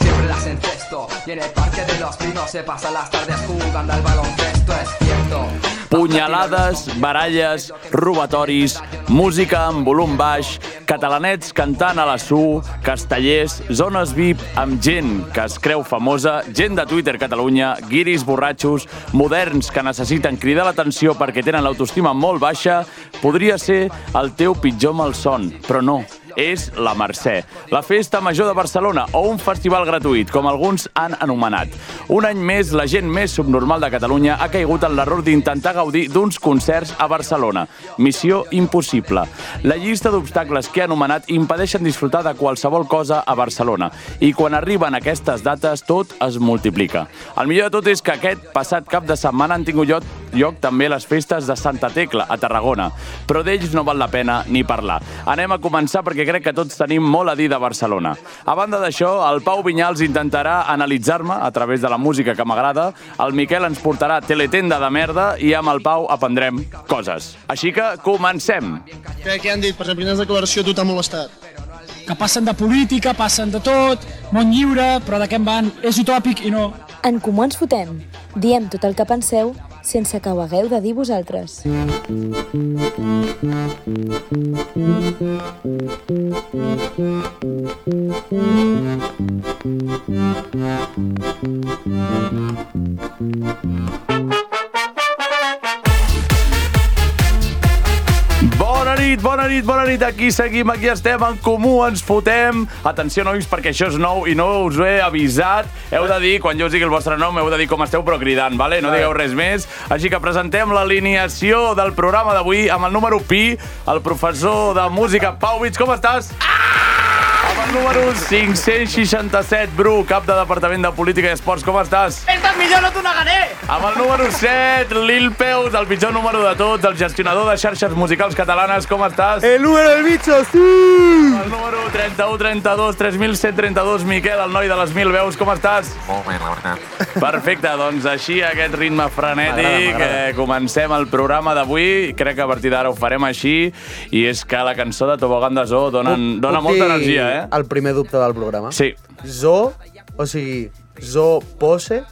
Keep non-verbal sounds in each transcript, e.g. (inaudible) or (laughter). Siempre las encesto. Y en el parque de los pinos se pasan las tardes jugando al baloncesto, es cierto. Punyalades, baralles, robatoris, música amb volum baix, catalanets cantant a la SU, castellers, zones VIP amb gent que es creu famosa, gent de Twitter Catalunya, guiris borratxos, moderns que necessiten cridar l'atenció perquè tenen l'autoestima molt baixa, podria ser el teu pitjor malson, però no, és la Mercè, la Festa Major de Barcelona o un festival gratuït, com alguns han anomenat. Un any més, la gent més subnormal de Catalunya ha caigut en l'error d'intentar gaudir d'uns concerts a Barcelona. Missió impossible. La llista d'obstacles que he anomenat impedeixen disfrutar de qualsevol cosa a Barcelona i quan arriben aquestes dates tot es multiplica. El millor de tot és que aquest passat cap de setmana han tingut lloc, lloc també les festes de Santa Tecla, a Tarragona, però d'ells no val la pena ni parlar. Anem a començar perquè crec que tots tenim molt a dir de Barcelona. A banda d'això, el Pau Vinyals intentarà analitzar-me a través de la música que m'agrada, el Miquel ens portarà teletenda de merda i amb el Pau aprendrem coses. Així que comencem! Què, què han dit? Per exemple, quines declaració a tu t'ha molestat? que passen de política, passen de tot, món lliure, però de què en van? És utòpic i no. En Comú Ens Fotem. Diem tot el que penseu sense que ho hagueu de dir vosaltres. Bona nit, bona nit, bona nit, aquí seguim, aquí estem, en comú ens fotem. Atenció, nois, perquè això és nou i no us ho he avisat. Heu de dir, quan jo us digui el vostre nom, heu de dir com esteu, però cridant, vale? no digueu res més. Així que presentem l'alineació del programa d'avui amb el número pi, el professor de música Pau Vits. Com estàs? Amb el número 567, Bru, cap de Departament de Política i Esports. Com estàs? Estás millón, no te una gané. Amb el número 7, Lil Peus, el pitjor número de tots, el gestionador de xarxes musicals catalanes. Com estàs? El número del bicho, sí! El número 31, 32, 3132, Miquel, el noi de les mil veus. Com estàs? Molt bé, la veritat. Perfecte, doncs així, a aquest ritme frenètic, eh, comencem el programa d'avui. Crec que a partir d'ara ho farem així. I és que la cançó de Tobogán de Zoo dona, dona Puc molta dir energia, eh? El primer dubte del programa. Sí. Zo, o sigui, zo pose,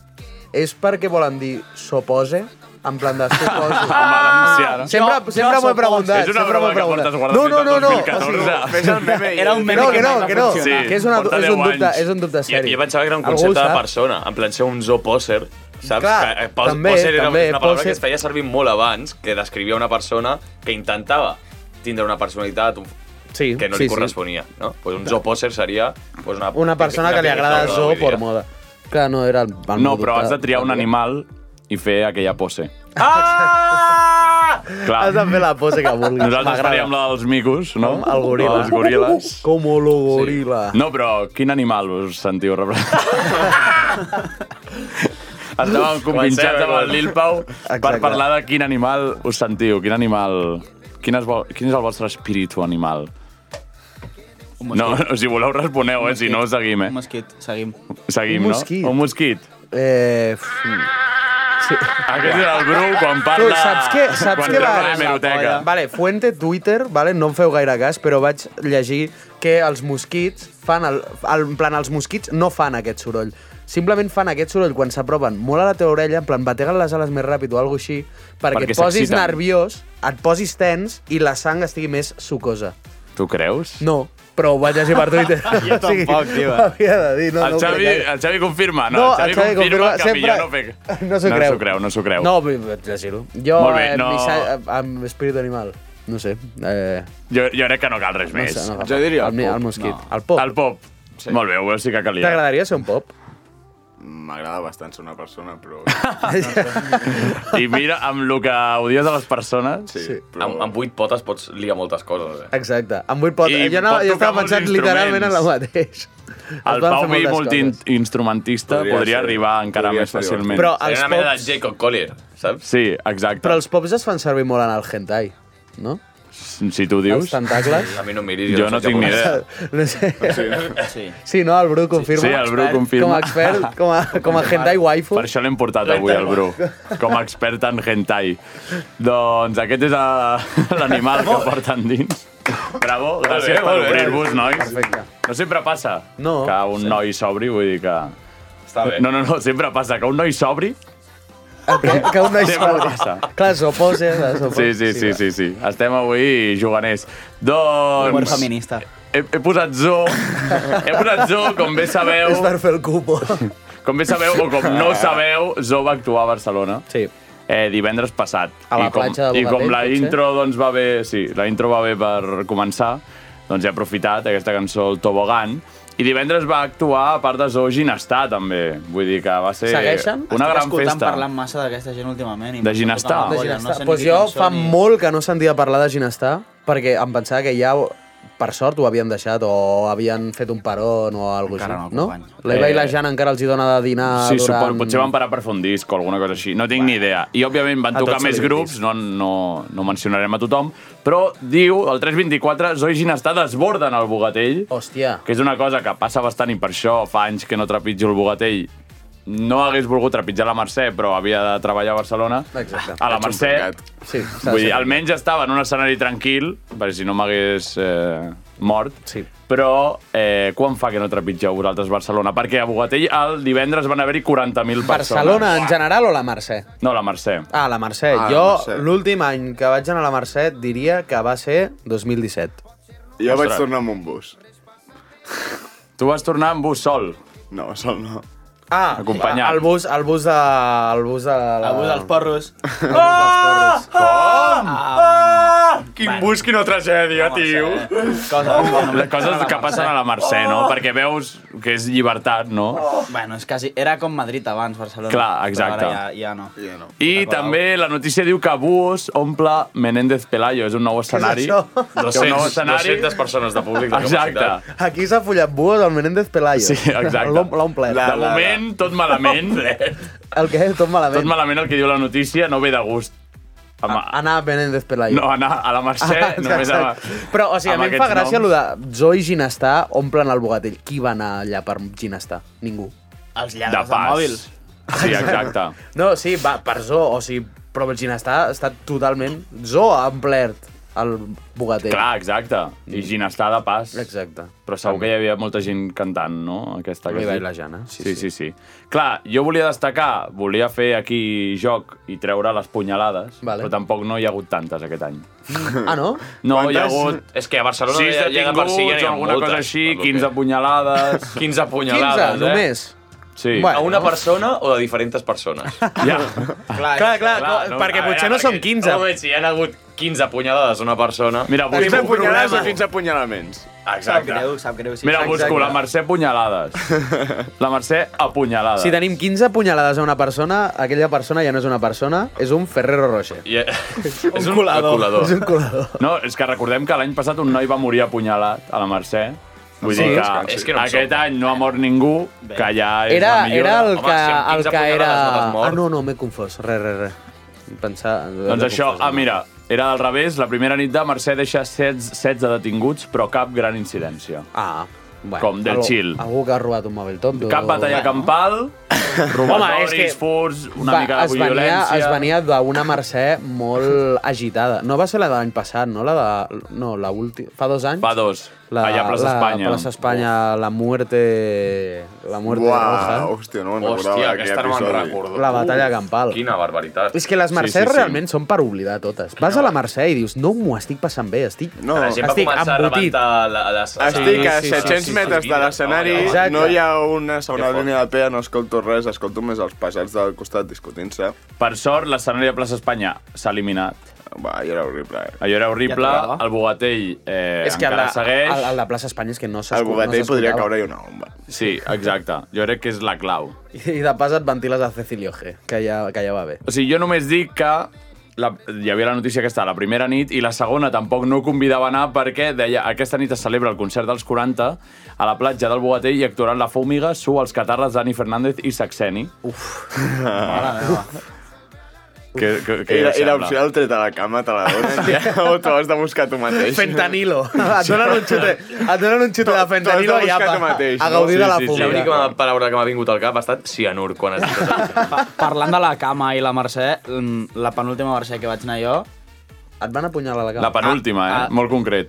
és perquè volen dir sopose, en plan de (laughs) suposo. Amb valencià, no? Sempre, sempre m'ho he preguntat. És una sempre broma m'ho he que preguntat. portes guardada no, fins no, al no, no. 2014. Fes (laughs) el meme i... Era un Que meme no, que que no, mai va que no. funcionar. Que és, una, Porta és un 10 dubte, anys. és un dubte Jo, seri. jo pensava que era un Algú concepte ho de sap? persona, en plan ser un zooposer. Saps? Clar, que, eh, pos, també, poser era també, una paraula poser- que es feia servir molt abans, que descrivia una persona que intentava tindre una personalitat un, Sí, que no sí, li sí. corresponia. No? Pues un zooposer seria pues una, Una persona que li agrada persona zo avui per dia. moda. Clar, no era el, el No, meu però dubte has de triar un del programa. animal i fer aquella (laughs) pose. Ah! Clar. Has de fer la pose que vulguis. Nosaltres M'agrada. faríem la dels micos, no? El goril·la. Els goril·les. Com lo goril·la. No, però quin animal us sentiu representat? (laughs) Estàvem convinxats amb el Lil Pau per Exacte. parlar de quin animal us sentiu, quin animal... Quin és, vo- quin és el vostre espíritu animal? No, (laughs) si voleu responeu, eh? Si no, seguim, eh? Un mosquit, seguim. Seguim, Un no? mosquit. Un mosquit. Eh, f- Aquest és el Bru quan tu parla... saps que, saps quan que parla la... d'hemeroteca. Vale, fuente Twitter, vale, no em feu gaire cas, però vaig llegir que els mosquits fan... El, el, en plan, els mosquits no fan aquest soroll. Simplement fan aquest soroll quan s'apropen molt a la teva orella, en plan, bateguen les ales més ràpid o alguna així, perquè, Perquè et posis s'exciten. nerviós, et posis tens i la sang estigui més sucosa. Tu creus? No, però ho vaig llegir per (laughs) Twitter. jo tampoc, (laughs) tio. Havia de dir, no, el, no, ho Xavi, crec. el Xavi confirma, no? No, el Xavi, el Xavi confirma, confirma que sempre- millor no (laughs) fer... No s'ho creu. No s'ho creu, no s'ho creu. No, vull llegir-ho. Jo, Molt bé, eh, no- missa- amb espírit animal. No sé. Eh, Jo, jo crec que no cal res no més. sé, no, Jo diria el, el mi- pop, el mosquit. no. El pop. El pop. Sí. Molt bé, ho veus, sí que calia. T'agradaria ser un (laughs) pop? M'agrada bastant ser una persona, (laughs) però... Ah, I mira, amb el que odies de les persones... Sí, però... Amb, amb vuit potes pots liar moltes coses, eh? Exacte. Amb vuit pot... I Jo, anava, pot tocar jo estava molts pensant literalment en el instruments. mateix. El van fer Pau Vi, moltes coses. multiinstrumentista, podria, Podria podria ser. arribar encara Podria més ser, fàcilment. Però Seria els una mena de Jacob Collier, saps? Sí, exacte. Però els pops es fan servir molt en el hentai, no? Si tu dius... Els tentacles. A mi no em miris. Jo no soc tinc ni idea. japonès. (laughs) No sé. Sí. Sí, no? El Bru confirma. Sí, el Bru confirma. Com a expert, com a, com a hentai waifu. Per això l'hem portat avui, el Bru, com a expert en hentai. Doncs aquest és eh, (laughs) l'animal que porten dins. Bravo, Molt bé, gràcies per molt bé. obrir-vos, nois. No sempre passa no. que un noi s'obri, vull dir que... Està bé. No, no, no, sempre passa que un noi s'obri... Que, que un noi Sempre s'obri. passa. Clar, eh, s'oposa. Sí, sí, sí, sí, sí. Estem avui juganers. Doncs... Humor feminista. He, he posat (laughs) zoo. He posat zoo, com bé sabeu... És per fer el cupo. Com bé sabeu, o com no sabeu, Zoo va actuar a Barcelona. Sí. Eh, divendres passat. A la I com, platja de I com Bogatell, la potser? intro doncs, va bé... Sí, la intro va bé per començar, doncs he aprofitat aquesta cançó, el Tobogan, i divendres va actuar a part de Zoo Ginestar, també. Vull dir que va ser Segueixen? una Estic gran escoltant festa. parlant massa d'aquesta gent últimament. i De m'està Ginestar? tocant la De bolla, Ginestar. Ah, sé ni pues qui jo cançó fa ni- molt que no sentia parlar de Ginestar, perquè em pensava que ja, per sort, ho havien deixat o havien fet un peron o alguna cosa Encara així. no, No? company. L'Eva Eh, i la Jana encara els hi dona de dinar Sí, durant... suposo, potser van parar per fer un disc o alguna cosa així. No tinc ni idea. I, òbviament, van A tocar tots més se li diu grups, no, no, no mencionarem a tothom, però diu, el 324, Zoe Ginestà desborden el Bogatell, Hòstia. que és una cosa que passa bastant i per això fa anys que no trepitjo el Bogatell. No hagués volgut trepitjar la Mercè, però havia de treballar a Barcelona. Exacte. A la Mercè, Sí, s'ha de vull dir, ser. almenys estava en un escenari tranquil, perquè si no m'hagués eh, mort. Sí. Però eh, quan fa que no trepitgeu vosaltres Barcelona? Perquè a Bogatell el divendres van haver-hi 40.000 persones. Barcelona en general o la Mercè? No, la Mercè. Ah, la Mercè. Ah, la Mercè. jo l'últim any que vaig anar a la Mercè diria que va ser 2017. Jo vaig Ostres. tornar amb un bus. Tu vas tornar amb bus sol. No, sol no. Ah, Acompanyat. el bus, el bus de... El bus de la... El bus dels porros. Quin bus, quina tragèdia, tio. Oh. Les coses que passen a la Mercè, no? Perquè veus que és llibertat, no? Bueno, és quasi... Era com Madrid abans, Barcelona. Clar, exacte. Però ara ja, ja no. Ja no. I també la notícia diu que Bus omple Menéndez Pelayo. És un nou escenari. això? Que un nou 200, escenari. 200 persones (laughs) de públic. de Exacte. capacitat. Aquí s'ha follat buos el Menéndez Pelayo. Sí, exacte. L'ha l'ha omplert. De La- moment, tot (laughs) malament. El que és tot malament. Tot malament el que diu la notícia no ve de gust. Home, Anar a Menéndez Pelayo. (laughs) no, anar a la Mercè Ah, només a... exacte. Però, o sigui, a amb mi em fa aquests gràcia noms. allò de Zoe i Ginestar omplen el Bogatell. Qui va anar allà per Ginestar? Ningú. Els De lladres de, pas. mòbil. Sí, exacte. No, sí, va, per Zo, o sigui, però el Ginestar està totalment... Zo ha omplert el Bogatell. Clar, exacte. I Ginestar de pas. Mm. Exacte. Però segur que hi havia molta gent cantant, no? Aquesta que L'Iva has i dit. la Jana, sí, sí, sí, sí. Clar, jo volia destacar, volia fer aquí joc i treure les punyalades, Vale. però tampoc no hi ha hagut tantes aquest any. Ah, no? No, hi ha Quantes? hagut... És que a Barcelona Sis ja, ja de per detinguts si ja n'hi o ha alguna moltes, cosa així, per lo 15 punyalades... (laughs) 15 15, punyalades, eh? només. Sí. Bueno. A una persona o de diferents persones? Ja. Clar, (laughs) Clar, clar, clar no, a perquè veure, potser no som perquè- 15. No, si hi ha hagut 15 punyalades a una persona... Mira, Quins busco... apunyalaments o quins apunyalaments? Sap Exacte. greu, sap greu. Sí, Mira, Sap busco greu. la Mercè punyalades. La Mercè apunyalada. Si tenim 15 punyalades a una persona, aquella persona ja no és una persona, és un Ferrero Rocher. (laughs) I- e- és un colador. És un colador. No, és que recordem que l'any passat un noi va morir apunyalat a la Mercè. Vull Sí, dir que, és que- és que no em aquest sobta. any no ha mort ningú, que ja és Era, la millora. era el Home, que, si amb el 15 que era... punyalades no t'has mort. Ah, no, no, m'he confós. Re, re, re. Pensar... Doncs això, ah, mira, era al revés. La primera nit de Mercè deixa 16, 16 detinguts, però cap gran incidència. Ah, bueno. Com del chill. Algú que ha robat un mòbil tot. Cap batalla campal, robatoris, Home, és que furts, una mica de es venia, violència... Es venia d'una Mercè molt agitada. No va ser la de l'any passat, no? La de... No, la última... Fa dos anys? Fa dos, allà a Plaça la, Espanya. Plaça Espanya, la muerte... La muerte roja. Uau, hòstia, no me'n recordava Hòstia, d'aquell aquesta no me'n episodi. recordo. La batalla campal. Quina barbaritat. És que les Mercès Sí, sí, sí. realment són per oblidar totes. Vas a la Mercè i dius, no m'ho estic passant bé, estic... No, la gent va estic començar a embotit. rebentar la, les... Estic a sí, sí, 700 sí, metres de l'escenari, Exacte. no hi ha una segona Que fort. línia de pea, no escolto res, escolto més els passats del costat discutint-se. Per sort, l'escenari de Plaça Espanya s'ha eliminat. Va, i era horrible. eh? Allò era horrible, Ja tocava. el Bogatell eh, És que a encara la, segueix. a, a la plaça Espanya és que no s'escolta. El Bogatell podria caure-hi una bomba. Sí, exacte. Jo crec que és la clau. I de pas et ventiles a Cecilio G, que ja, que ja va bé. O sigui, jo només dic que la, hi havia la notícia aquesta la primera nit i la segona tampoc no convidava a anar perquè deia aquesta nit es celebra el concert dels 40 a la platja del Bogatell i actuaran La Fúmiga, Su, Els Catarres, Dani Fernández i Saxeni. Uf. que, que, que era, era opció del tret a la cama, te la donen, ja, o t'ho has de buscar tu mateix. Fentanilo. (laughs) Et donen un xute, et donen un xute de T'ho fentanilo has de i buscar apa, tu mateix. a gaudir de la La pública. única paraula que m'ha vingut al cap ha estat cianur, quan has dit Parlant de la cama i la Mercè, mm, la penúltima Mercè que vaig anar jo... Et van apunyalar la La penúltima, eh? Ah, Ah. Molt concret.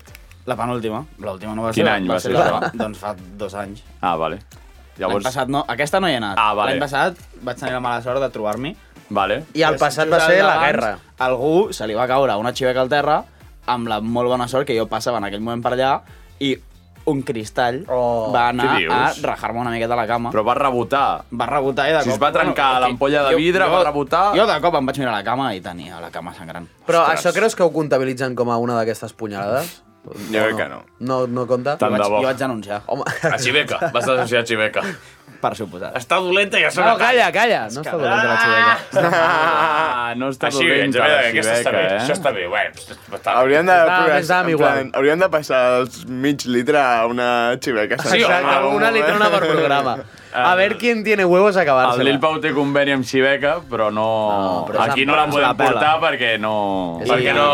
La penúltima. L'última no va Quin ser... any va ser la- això? Doncs fa dos anys. Ah, vale. Llavors... L'any Llavors, passat no, aquesta no hi he anat. Ah, vale. L'any passat vaig tenir la mala sort de trobar-m'hi. vale. I el passat Just va ser al la d'abans, guerra. Algú se li va caure una xiveca al terra amb la molt bona sort que jo passava en aquell moment per allà i un cristall Oh. va anar Què dius? a rajar-me una miqueta a la cama. Però va rebotar. Va rebotar i de Si cop... es va trencar bueno, l'ampolla de jo- vidre, va rebotar. Jo de cop em vaig mirar a la cama i tenia la cama sangrant. Ah, Però això creus que ho comptabilitzen com a una d'aquestes punyalades? Jo crec que no. No, no compta? Tant Jo de vaig, bo. jo vaig denunciar, Home, (laughs) A Xiveca, vas denunciar a Xiveca. per suposat. Està dolenta i a sobre... no, calla, calla. No està dolent la xiveca. Ah, no està Així, bé, dolenta la aquesta està bé, això xiveca, eh? està bé, bueno, està bé. Hauríem de, Està progressar- Ah, més d'am en igual. plan, hauríem de passar els mig litre a una xiveca. Ah, Sí, home, en algun una moment. litrona per programa. A ver quién tiene huevos a El Lil acabar-se-la. Pau té conveni amb Xiveca, però no... no però aquí és- no la ens podem la pela. portar perquè no... Perquè no...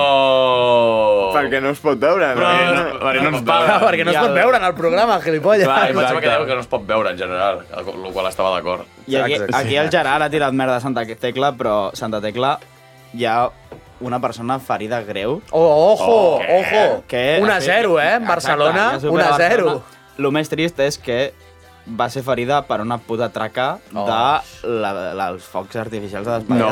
Perquè no es pot veure. Però, no? no, perquè no ens paga. Perquè (laughs) no es pot veure en el programa, gilipolles. Clar, Em pensava que Exacte. deia que no es pot veure en general, el el qual estava d'acord. I aquí, Exacte. aquí el Gerard ha tirat merda a Santa Tecla, però Santa Tecla hi ha una persona ferida greu Oh, ojo, Oh, ojo. que... 1 a 0, eh? En Barcelona, 1 a 0. El més trist és que va ser ferida per una puta traca Oh. de la, la, els focs artificials de les No.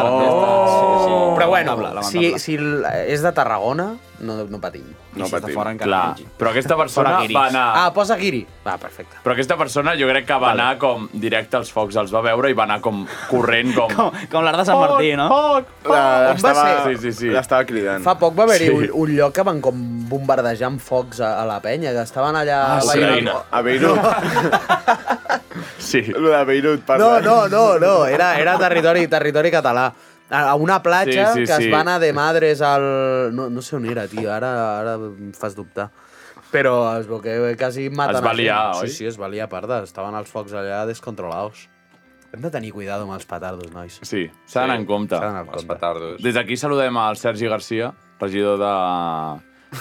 Però bueno, si, lamentable. si l- és de Tarragona, no, no patim. no, No si està patim. fora encara Clar, menys. però aquesta persona guiris. va anar... Ah, posa guiri. Va, perfecte. Però aquesta persona jo crec que va anar com directe als focs, els va veure i va anar com corrent, com... Com, com l'art de Oh, Sant Martí, no? La- on va l'estava- ser? Sí, sí, sí. L'estava cridant. Fa poc va haver-hi Sí. un, un lloc que van com bombardejant focs a, a la penya, que estaven allà... Ah, sí, veient- Ucraïna. A Beirut. Sí. (laughs) Lo de Beirut, parla. No, no, no, no, era, era territori, territori català. A a una platja Sí, sí, sí, sí, que sí. es va anar de madres al... No, no sé on era, tio, ara, ara em fas dubtar. Però es veu que quasi maten... Es va a gent. liar, oi? Sí, sí, es va liar, parda. Estaven els focs allà descontrolados. Hem de tenir cuidado amb els petardos, nois. Sí, s'ha d'anar Sí. en compte. S'ha d'anar amb Els compte. petardos. Des d'aquí saludem al Sergi Garcia, regidor de,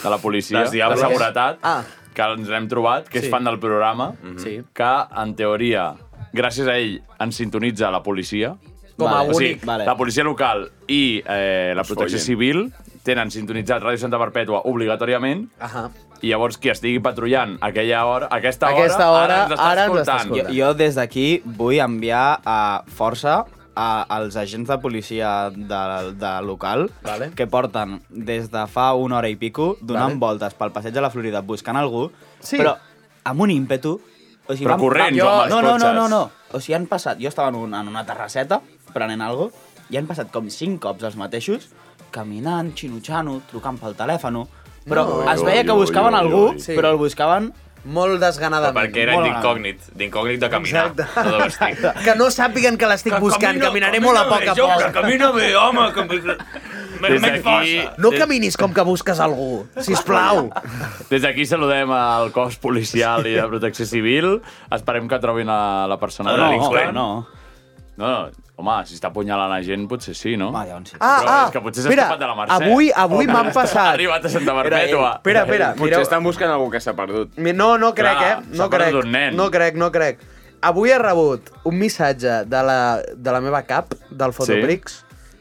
de la policia, Dels de Diables. seguretat, Ah. que ens l'hem trobat, que Sí. és fan del programa, Sí. que, en teoria, gràcies a ell, ens sintonitza la policia. Com a O sigui, únic, vale. La policia local i eh, la Us protecció follen. civil tenen sintonitzat Ràdio Santa Perpètua obligatòriament Ahà. i llavors qui estigui patrullant aquella hora, aquesta, Aquesta hora, hora, ara ara ens està ens està Jo, escoltant. escoltant. jo des d'aquí vull enviar a força a, als agents de policia de, de local Vale. que porten des de fa una hora i pico donant Vale. voltes pel passeig de la Florida buscant algú, Sí. però amb un ímpetu... O sigui, Però corrents, jo, home, els no, no, no, cotxes. no, no. O sigui, han passat... Jo estava en, un, en una terrasseta prenent algo i han passat com cinc cops els mateixos caminant, xinutxano, trucant pel telèfon... Però No. es veia Ui, que ui, buscaven ui, algú, ui. Sí. però el buscaven Molt desganadament. Perquè era Molt d'incògnit, d'incògnit de caminar. Exacte. No de vestir. Que no sàpiguen que l'estic buscant, caminaré molt a poc a poc. Camina bé, home, que... Des d'aquí, No caminis com que busques algú, si us plau. Des d'aquí saludem al cos policial i de protecció civil. Esperem que trobin a la persona No, delinqüent. no. no, no. Home, si està apunyalant a gent, potser sí, no? Home, Ah, llavors sí. Però és que potser s'ha doncs. mira, escapat de la Mercè. avui, avui m'han Ha passat... eh, arribat a Santa Perpètua. (laughs) Espera, espera, Potser mireu... estan buscant algú que s'ha perdut. Mi- No, no crec, Clar, eh? No s'ha perdut crec, un nen. no crec, no crec. Avui he rebut un missatge de la, de la meva cap, del Fotoprix,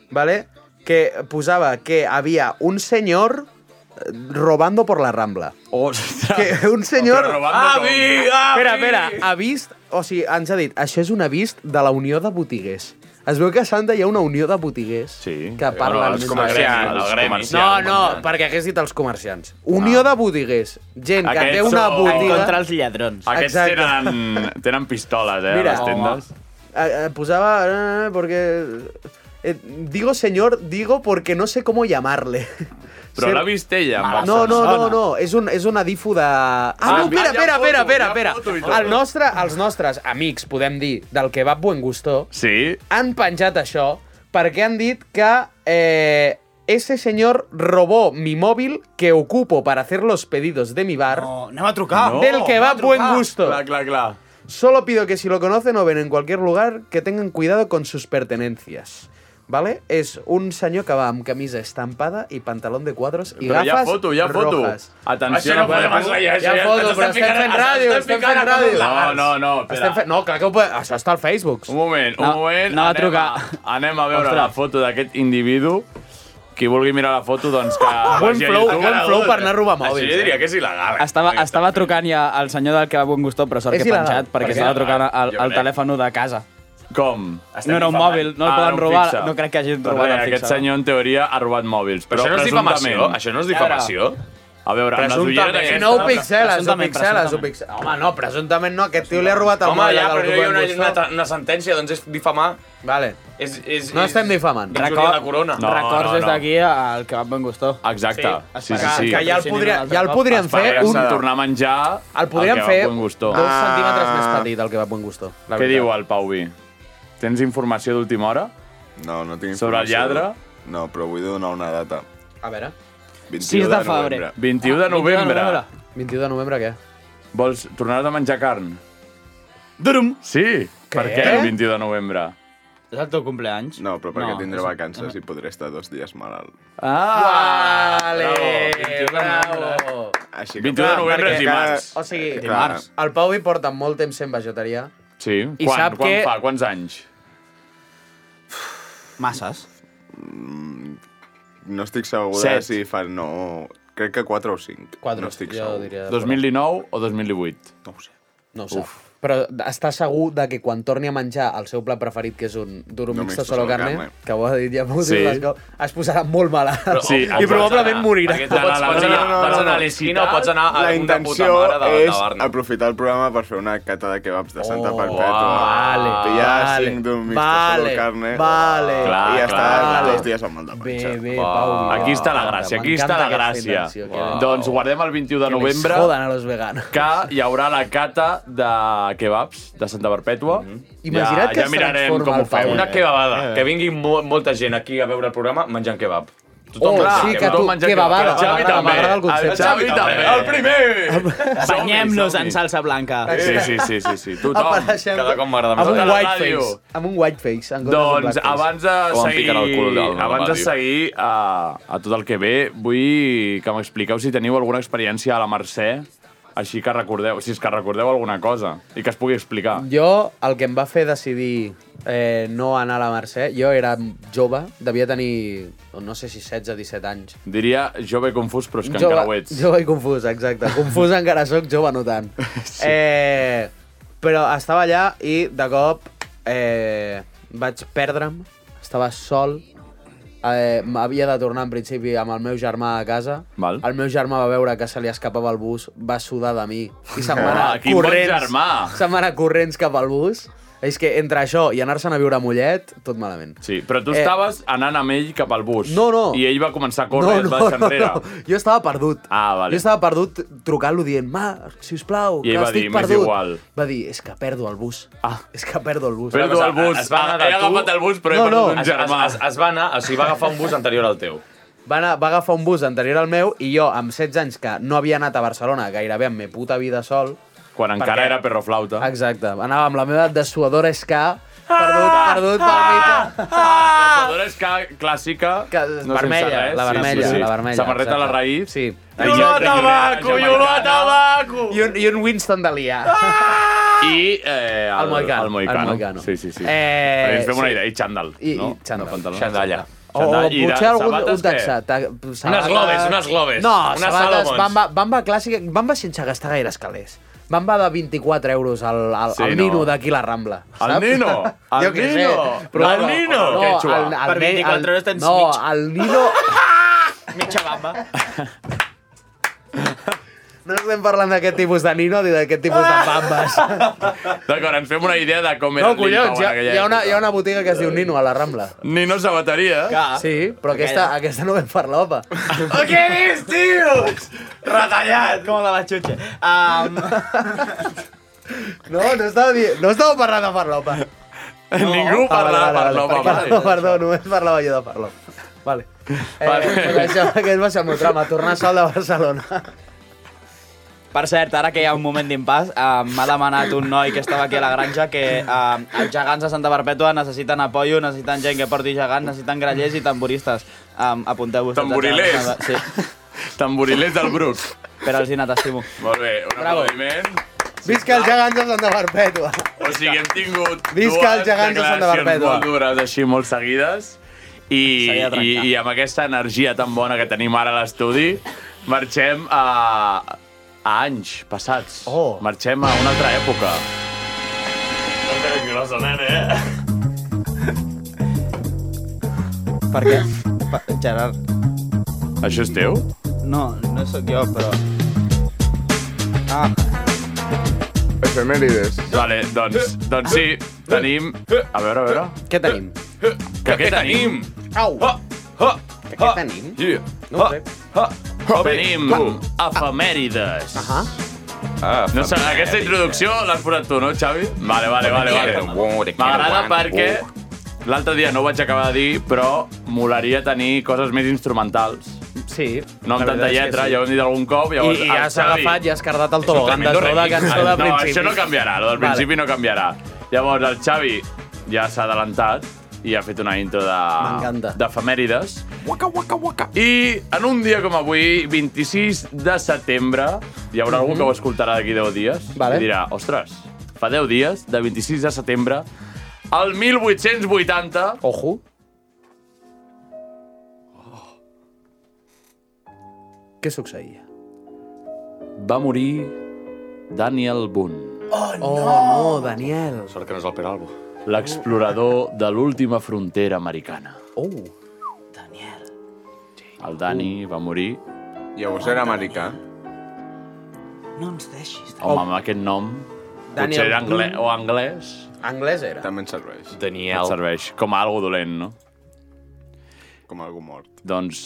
vale? que posava que havia un senyor eh, robando por la Rambla. (laughs) Ostres. Que un senyor... Ah. Però robant de Avi, com? avi! Espera, espera, avist... O sigui, ens ha dit, això és un avist de la Unió de Botiguers. Es veu que a Santa hi ha una unió de botiguers Sí. que parlen... els més comerciants, comerciants, els els comerciants. No, no, perquè hagués dit els comerciants. Unió de botiguers. Gent que Ah. Aquests té una són- En botiga... contra els lladrons. Ah, Aquests Exacte. tenen, tenen pistoles, eh, a Mira, les tendes. Eh, eh, Posaba... eh, porque... eh, digo señor, digo porque no sé cómo llamarle. (laughs) Però Ser- l'ha vist ella. amb No, no, no, Barcelona. no, és un, és una difu de... Ah, no, mira, hi ha espera, espera, foto, espera, hi espera, ha foto i tot. espera. El nostre, els nostres amics, podem dir, del kebab Buen Gustó, Sí? han penjat això perquè han dit que eh, Ese señor robó mi móvil que ocupo para hacer los pedidos de mi bar. No, anem a trucar. Del No, que anem va a trucar. buen gusto. Clar, clar. Solo pido que si lo conocen o ven en cualquier lugar, que tengan cuidado con sus pertenencias. ¿Vale? És un senyor que va amb camisa estampada i pantalón de quadros i Però hi ha gafes foto, hi ha foto. rojas. Atenció, Això no no podem podem- ensenyar, pues, Hi ha això ja foto, ens però estem estem ficant- fent ens ràdio, estem estem ficant fent a totes ràdio. les- No, no, no, espera. Estem fent... No, clar que ho podem... Això està al Facebook. Un moment, un No, moment. anava a anem trucar. anem a veure Ostres. la foto d'aquest individu. Qui vulgui mirar la foto, doncs que... Buen vagi a flow, YouTube. buen flow per anar a robar mòbils, Això jo diria que és il·legal. eh? Estava, estava trucant ja al senyor del que va bon gustó, però sort És que he il·legal. penjat, Per perquè què? estava trucant al, Jo al crec. telèfon de casa. Com? Ah, No era un mòbil, no el poden robar, no crec que hagin robat el Doncs Aquest fixe. senyor, en teoria, ha robat mòbils. Però Però, això no és presumptament- difamació? Això no és difamació? A veure, amb les ulleres... Si aquestes- no ho pixeles, ho Presumptament, pixeles, ho presumptament. pixeles. Home, no, presumptament no, aquest tio li ha robat el Home, mòbil ja, al però que no hi ha buen una, gusto. una, una sentència, doncs és difamar. Vale. És, és, No és... estem difamant. Injúria a la corona. No, records no, des no. d'aquí al que va bon gustó. Exacte. Sí, sí, esperar. sí. Que ja el, podria, ja el podríem fer Esperaria-se un... de Tornar a menjar... El podríem que va fer Buen gusto. dos centímetres més petit, el que va buen gusto. la Ah. Què veritat. diu el Pau Vi? Tens informació d'última hora? No, no tinc Sobre el informació. lladre? No, però vull donar una data. A veure. 21 de novembre. 21 Ah, de novembre. 21 de novembre, què? Vols tornar a menjar carn? Durum! Sí, Què? per què el 21 de novembre? És el teu compleanys? No, però perquè No, tindré és- vacances i podré estar dos dies malalt. Ah! Vale, bravo. Així que- 21 de novembre és Perquè- dimarts. O sigui, Dimarts. el Pau hi porta molt temps sent vegetarià. Sí, I quan, sap quan que- fa? Quants anys? Masses. No estic segura Set. si fan... No, crec que 4 o 5. 4, no estic jo segur. diria 2019 o 2018? No ho sé. No ho sap. Però està segur de que quan torni a menjar el seu plat preferit, que és un duro No mixto mixto solo solo carne, carne. que ho ha dit ja moltes Sí. sí. vegades, es posarà molt malalt Sí, i probablement morirà. Perquè pots, pots, anar, pots anar a l'esquina o pots anar a La alguna puta intenció mare de, és de Barna. aprofitar el programa per fer una cata de kebabs de Santa Perpètua. vale, Pillar vale, 5 d'un mixto vale, solo carne. Vale, I Clar, estar clar. dos dies amb el de panxa. oh, Bé, bé, Ah, aquí està la gràcia, aquí està la gràcia. Uau. Doncs guardem el 21 de Que les novembre jodan a los veganos. que hi haurà la cata de kebabs de Santa Perpètua. Imagina't que ja, ja es mirarem transforma com ho el feu. Pau. Una kebabada, Eh. que vingui mo molta gent aquí a veure el programa menjant kebab. Oh, menjant sí, que kebab. tu- kebabada, El Xavi m'agrada, també. m'agrada el concepte. El Xavi El també. primer. El primer! Banyem-nos en salsa blanca. Sí, sí, sí, sí, sí. Tothom. Apareixem Cada cop m'agrada més. Amb un Tota la whiteface. ràdio. Amb un whiteface. en comptes d'un Doncs blackface. abans de O em seguir, piquen el cul al- al abans de ràdio. seguir a, a tot el que ve, vull que m'expliqueu si teniu alguna experiència a la Mercè, així que recordeu, si és que recordeu alguna cosa i que es pugui explicar. Jo, el que em va fer decidir eh, no anar a la Mercè, jo era jove, devia tenir, no sé si 16 o 17 anys. Diria jove confús, però és que encara ho ets. Jove i confús, exacte. Confús encara sóc, jove (laughs) no tant. Sí. Eh, però estava allà i de cop eh, vaig perdre'm, estava sol, eh, m'havia de tornar en principi amb el meu germà a casa. Val. El meu germà va veure que se li escapava el bus, va sudar de mi i se'n va anar Ah, quin bon germà! Se'n va anar corrents cap al bus. És que entre això i anar-se'n a viure a Mollet, tot malament. Sí, però tu Eh. estaves anant amb ell cap al bus. No, no. I ell va començar a córrer i et va deixar enrere. Jo estava perdut. Ah, vale. Jo estava perdut trucant-lo dient, Marc, sisplau, I ell que va estic dir, "M'és perdut. igual. Va dir, és que perdo el bus. Ah. És que perdo el bus. Perdo el bus. Ah, Es va anar de he tu. agafat el bus, però No, he perdut no. un germà. Es, es, es va anar, o sigui, va agafar un bus anterior al teu. Va, anar, va agafar un bus anterior al meu i jo, amb 16 anys, que no havia anat a Barcelona gairebé en me puta vida sol... Quan encara perquè- era perro flauta. Exacte. Anava amb la meva dessuadora SK, perdut, perdut pel mitjà. Ah! La és que clàssica, que, no vermella, sense res. la vermella, la vermella, Samarreta a la exacte. raïs. Sí. Exacte. ioló tabaco! I un, i un Winston d'Alià. I eh, el, El El Moicano, Ah! Moicano. el Moicano. Sí, sí, sí. Eh, Perquè ens fem una sí. idea. I xandall, I- no? i xandall. No, pantaló. Xandalla. O, o Xandall. I potser de- algun sabates, un texat. què? Unes globes, unes globes, No, unes sabates, Salomons. bamba, bamba clàssica, bamba sense gastar gaires calés. Bamba de 24 euros al, al, Sí, al no. Nino d'aquí la Rambla. El saps? Nino! El Jo què sé, Nino! però- El Nino! No, Quechua. el, el, Per 24 el- euros tens no, mig. el Nino... (laughs) Mitja bamba. No estem parlant d'aquest tipus de Nino ni d'aquest tipus de bambes. D'acord, ens fem una idea de com era No, el Lintau collons, hi en ha, aquella hi, ha una, època. hi ha una botiga que es diu Nino a la Rambla. Nino Sabateria. Sí, però aquesta, aquesta Ah. no vam parlar, opa. Què dius, tios? Retallat! Com de la xutxa. Um, No, no estava, dient, no estava parlant de farlopa. Ningú Ah, vale, parlava per vale, l'home. vale, Perdó, perdó, només parlava jo de farlopa. Vale. Eh, vale. Això, aquest va ser el meu trama, tornar sol de Barcelona. Per cert, ara que hi ha un moment d'impàs, eh, m'ha demanat un noi que estava aquí a la granja que eh, els gegants de Santa Perpètua necessiten apoyo, necessiten gent que porti gegants, necessiten grallers i tamboristes. Um, Apunteu-vos. tots a Tamborilers. gegants. Sí. Tamborilers del Bruc. Per al Zina, t'estimo. Molt bé, un Bravo. aplaudiment. Visca els gegants de Santa Perpètua. O sigui, hem tingut Visca dues els gegants de Santa declaracions Barbeta. molt dures, així, molt seguides. I, S'havia de i, trencar. I amb aquesta energia tan bona que tenim ara a l'estudi, marxem a, a anys passats. Oh. Marxem a una altra època. Grossa, nena, eh? Per què? Per, Gerard. Això és teu? No, no sóc jo, però... Ah, Efemèrides. Vale, doncs, doncs sí, tenim... A veure, a veure... Què tenim? Que què tenim? Au! Ha, ha, Que què tenim? Yeah. No ho sé. Ah, Ha, ha. Tenim efemèrides. Ahà. Ah, No sé, aquesta introducció l'has posat tu, no, Xavi? Vale, vale, vale. vale. M'agrada perquè Uh. l'altre dia no ho vaig acabar de dir, però molaria tenir coses més instrumentals. Sí. No amb la tanta veritat és que lletra, sí. ja ho hem dit algun cop. Llavors, I, i ja el s'ha Xavi- agafat i ha escardat el És un tobogan de tremendo so de remix. cançó de No, principi. això no canviarà, el del Vale. principi no canviarà. Llavors, el Xavi ja s'ha adelantat i ha fet una intro de... d'efemèrides. Waka, waka, waka. I en un dia com avui, 26 de setembre, hi haurà algú Mhm. que ho escoltarà d'aquí 10 dies Vale. i dirà, ostres, fa 10 dies, de 26 de setembre, el 1880... Ojo. Oh. Què succeïa? Va morir Daniel Boone. Oh, no! Oh, no, Daniel. Sort que no és el Peralbo. L'explorador de l'última frontera americana. Oh. El Dani va morir. Llavors era americà. No ens deixis. Home, amb aquest nom, Daniel potser era anglè, Boone. o anglès. Anglès era. També ens serveix. Et serveix com a algo dolent, no? Com algú mort. Doncs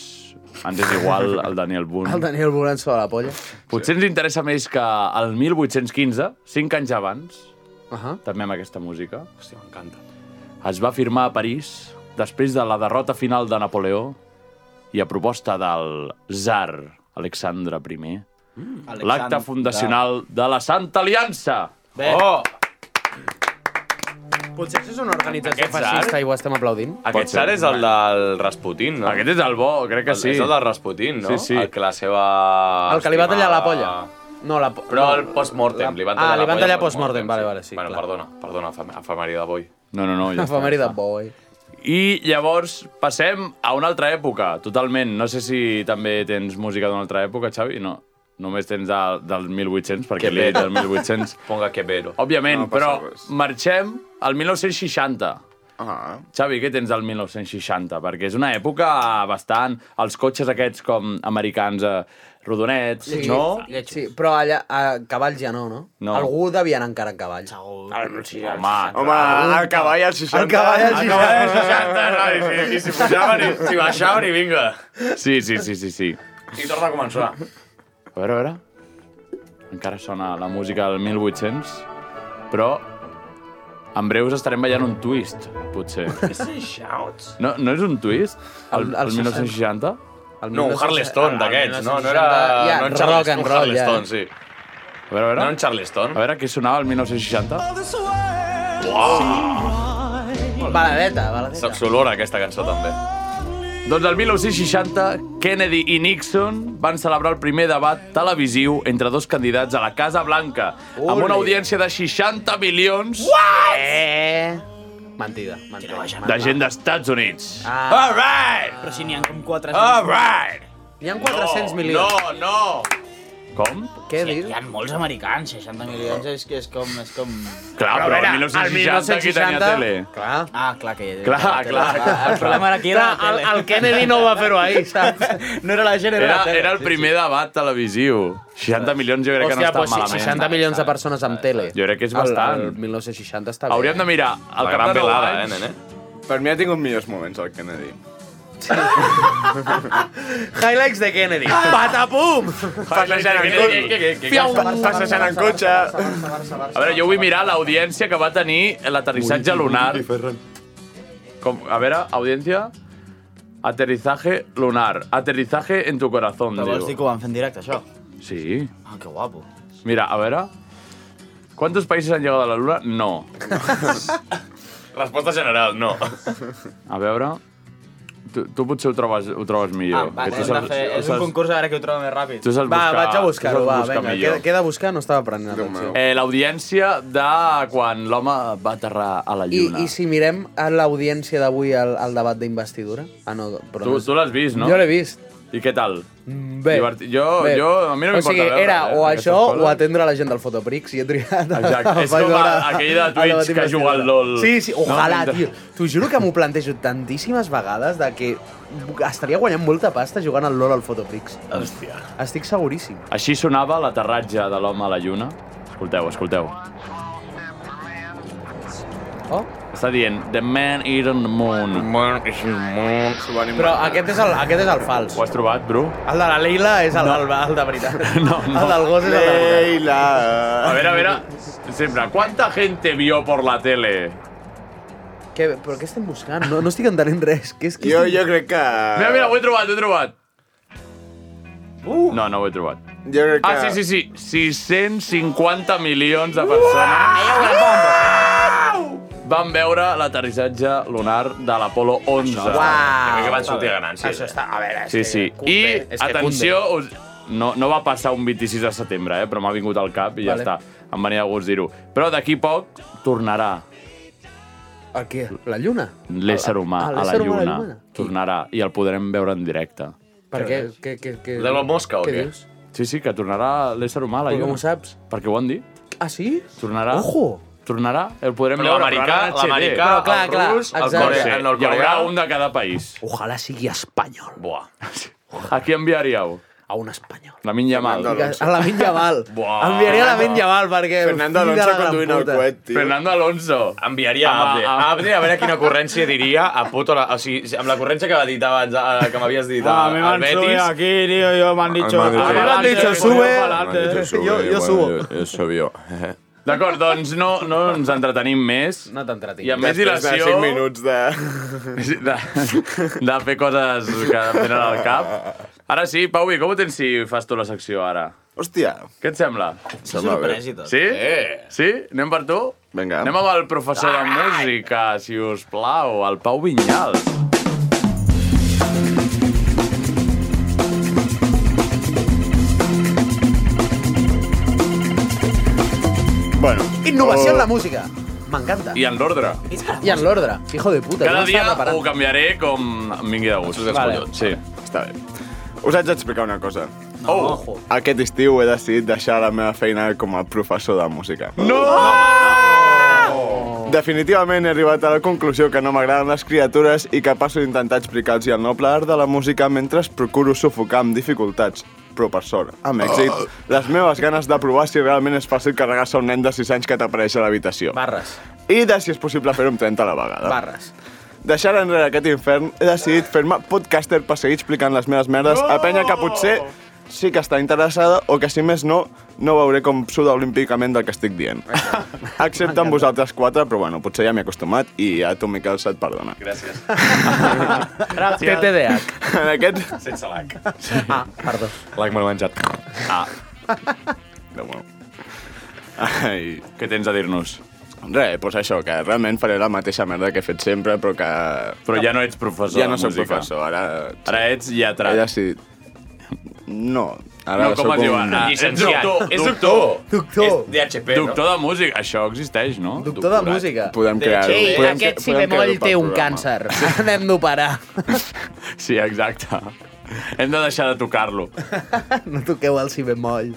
ens és igual (laughs) el Daniel Boone. El Daniel volant sobre la polla. Potser ens interessa més que el 1815, 5 anys abans, uh -huh. també amb aquesta música. Hòstia, m'encanta. Es va firmar a París després de la derrota final de Napoleó i a proposta del tsar Alexandre I, l'acte fundacional de la Santa Aliança. Bé. Oh! Potser això és una organització Aquest fascista tsar? i ho estem aplaudint. Aquest tsar és el del Rasputin, no? Aquest és el bo, crec que Ah, sí. És el del Rasputin, no? Sí, sí. El que la seva... El que li va tallar la polla. estimada- No, la... Però no. el post-mortem, li van Ah, tallar li la van polla tallar post-mortem, vale, vale, sí. Bueno, perdona, perdona, efem- efemèride de boi. No, no, no, (laughs) ja està. Efemeri de boi. I llavors passem a una altra època, totalment. No sé si també tens música d'una altra època, Xavi, no. Només tens de, del 1800, perquè Que li he dit bé. del 1800. Ponga que vero. Òbviament, No passa però marxem al 1960. Ah. Xavi, què tens del 1960? Perquè és una època bastant... Els cotxes aquests com americans eh, rodonets, Sí, no? Sí, però allà, a cavalls ja no, no? No. Algú devia anar encara en cavalls. Segur. Oh, Home, Home, el cavall als 60. El cavall als El cavall 60, als noi, si- si pujava ni- si baixava ni vinga. Sí, sí, sí, sí, sí. I torna a començar. A veure, a veure. Encara sona la música del 1800, però en breus estarem ballant un twist, potser. Shouts. No, no és un twist? El, el, El- el 1960? No, un Harleston d'aquests, Ah, no? No era... no en Charles- un Harleston, sí. A veure, a veure. No en Charleston. A veure què sonava el 1960. Baladeta, baladeta. Saps olor, aquesta cançó, també. Doncs el 1960, Kennedy i Nixon van celebrar el primer debat televisiu entre dos candidats a la Casa Blanca, amb Ole. una audiència de 60 milions What? Eh... Mentida, mentida. de gent d'Estats Units. Ah. All right! Però si n'hi ha com 400... All right! Hi ha 400 Oh, No, milions. no! Com? Què sí, dius? Hi ha molts americans, 60 milions és que és com... És com... Clar, però, el 1960 qui tenia tele? Clar. Ah, clar que... Clar, la tele. clar, clar. El problema era que era la Clar, tele. el- el Kennedy no va fer-ho (laughs) ahir, saps? No era la gent, era, Era, la tele. era el primer debat televisiu. 60 milions jo crec que no Hòstia, està pues, sí, malament. 60 milions de persones amb tele. Jo crec que és bastant. El, el 1960 està bé. Hauríem de mirar el eh, cap de 9 anys. Per mi ha tingut millors moments el Kennedy. Highlights de Kennedy. Patapum! Passejant en cotxe. Passejant en cotxe. A veure, jo vull mirar l'audiència que va tenir l'aterrissatge lunar. Com, a veure, audiència... Aterrizaje lunar. Aterrizaje en tu corazón, Però vols dir diu. que ho van fer en directe, això? Sí. Ah, que guapo. Mira, a veure... ¿Cuántos países han llegado a la luna? No. (laughs) Resposta general, no. A veure... Tu, tu potser ho trobes, ho trobes millor. Ah, Va, Ah, que tu és, una saps- fe, tu és un saps- concurs a veure qui ho troba més ràpid. Tu saps Va, buscar, vaig a tu buscar-ho, saps va, buscar vinga. millor. Queda, queda a buscar, no estava prenent atenció. Eh, L'audiència de quan l'home va aterrar a la I, lluna. I si mirem a l'audiència d'avui al, al debat d'investidura? Ah, no, però... Tu, no és- tu l'has vist, no? Jo l'he vist. I què tal? Bé. Divertit. Mm, Jo, jo, a mi no o m'importa sigui, veure. era eh, o aquestes això coses. o atendre la gent del Fotoprix i he triat... a- Exacte, és vaig com veure- a- aquell de al Twitch debat que juga d'investidura. al LOL. Sí, sí, No, ojalà, mentre- tio. T'ho juro que m'ho plantejo tantíssimes vegades de que estaria guanyant molta pasta jugant al LOL al Fotoprix. Hòstia. Estic seguríssim. Així sonava l'aterratge de l'home a la lluna. Escolteu, escolteu. Oh. Està dient, the man is on the moon. The man is on the moon. Però aquest és el, aquest és el fals. Ho has trobat, Bru? El de la Leila és el, no. el, el de veritat. (laughs) No, no. El del gos és el de veritat. Leila. A veure, a veure, sempre, ¿cuánta gente vio por la tele? Què, però què estem buscant? No, no estic entenent res. Què és, què Jo, estem... jo crec que... Mira, mira, ho he trobat, ho he trobat. Uh. No, no ho he trobat. Jo crec que... Ah, sí, sí, sí. 650 milions de persones van veure l'aterrissatge lunar de l'Apolo 11. Uau. que van sortir ganant, sí. Això està... A veure, Sí, sí. I, Cunde, és que atenció, us... no, no va passar un 26 de setembre, eh? però m'ha vingut al cap i Vale. ja està. Em venia de gust dir-ho. Però d'aquí poc tornarà El què? La lluna? l'ésser humà Ah, a la l'ésser humà a la lluna. lluna. Tornarà i el podrem veure en directe. Per què? Què, què, què... L'Elon Musk, o què? dius? Sí, sí, que tornarà l'ésser humà a la Però lluna. com ho saps? Perquè ho han dit. Ah, sí? Tornarà. Ojo! Tornarà, el podrem Però veure. l'americà, però ara en l'americà, 3D. Però clar, el clar, rus, el exacte. core- el Hi haurà nord-coreà. un de cada país. Ojalà sigui espanyol. Buah. (laughs) A qui enviaríeu? A un espanyol. La Minya Mal. A la Mitja Val. (laughs) Buah. Enviaria a la Mitja Val perquè... Fernando fill de la Alonso gran conduint el puta. coet, tio. Fernando Alonso. Enviaria a Amb- amb- Abde. A Abde, a veure quina ocurrència diria a puto... La... O sigui, amb la ocurrència que, va dit abans, eh, que m'havies dit Ah, a- me al van subir Betis... aquí, tío, yo me han dicho... Ah, me Ah, han adelante, dicho- me han dicho que sube. voy pa'lante. Yo- yo subo. Yo subió. D'acord, doncs no, no ens entretenim més. No t'entretinc. I amb més Després dilació... de 5 minuts de... Sí, de, (laughs) de fer coses que em venen al cap. Ara sí, Pauvi, com ho tens si fas tu la secció ara? Hòstia. Què et sembla? Sembla bé. Sorpresa i (laughs) tot. Sí? Sí? Anem per tu? Vinga. Anem amb el professor de música, si us plau, el Pau Vinyals. Bueno. Innovació en la música. M'encanta. Oh. I en l'ordre. I en l'ordre. Hijo de puta. Cada no dia estava preparat. ho canviaré com em vingui de gust. Vale. Sí. Està bé. Us haig d'explicar una cosa. Oh! Aquest estiu he decidit deixar la meva feina com a professor de música. No! Definitivament he arribat a la conclusió que no m'agraden les criatures i que passo d'intentar explicar-los el noble art de la música mentre procuro sufocar amb dificultats. Però per sort, amb èxit, les meves ganes de provar si realment és fàcil carregar-se un nen de 6 anys que t'apareix a l'habitació. Barres. I de si és possible fer-ho amb 30 a la vegada. (laughs) Barres. Deixant enrere aquest infern, he decidit fer-me podcaster per seguir explicant les meves merdes a penya que potser sí que està interessada o que, si més no, no veuré com suda olímpicament del que estic dient. Excepte amb vosaltres quatre, però bueno, potser ja m'hi he acostumat i a tu, Miquel, se't perdona. Gràcies. Gràcies. TTDH. En aquest... Sense lac. Ah, perdó. Lac me l'he menjat. Ah, Déu meu. Ai... què tens a dir-nos? Res, doncs això, que realment faré la mateixa merda que he fet sempre, però que... Però ja no ets professor ja no de sóc música. professor, ara... Ara ets lletrat. Ella sí. No, ara No, com sóc es diu? un... Ah, ets Llicenciat. doctor. És doctor. Doctor. És DHP, no? Doctor de música, això existeix, no? Doctor de música. Podem Sí, crear-ho. sí, podem, Aquest si podem bemoll crear-ho pel té un programa. càncer. Anem-no parar. Sí, exacte. Hem de deixar de tocar-lo. (laughs) No toqueu el si bemoll.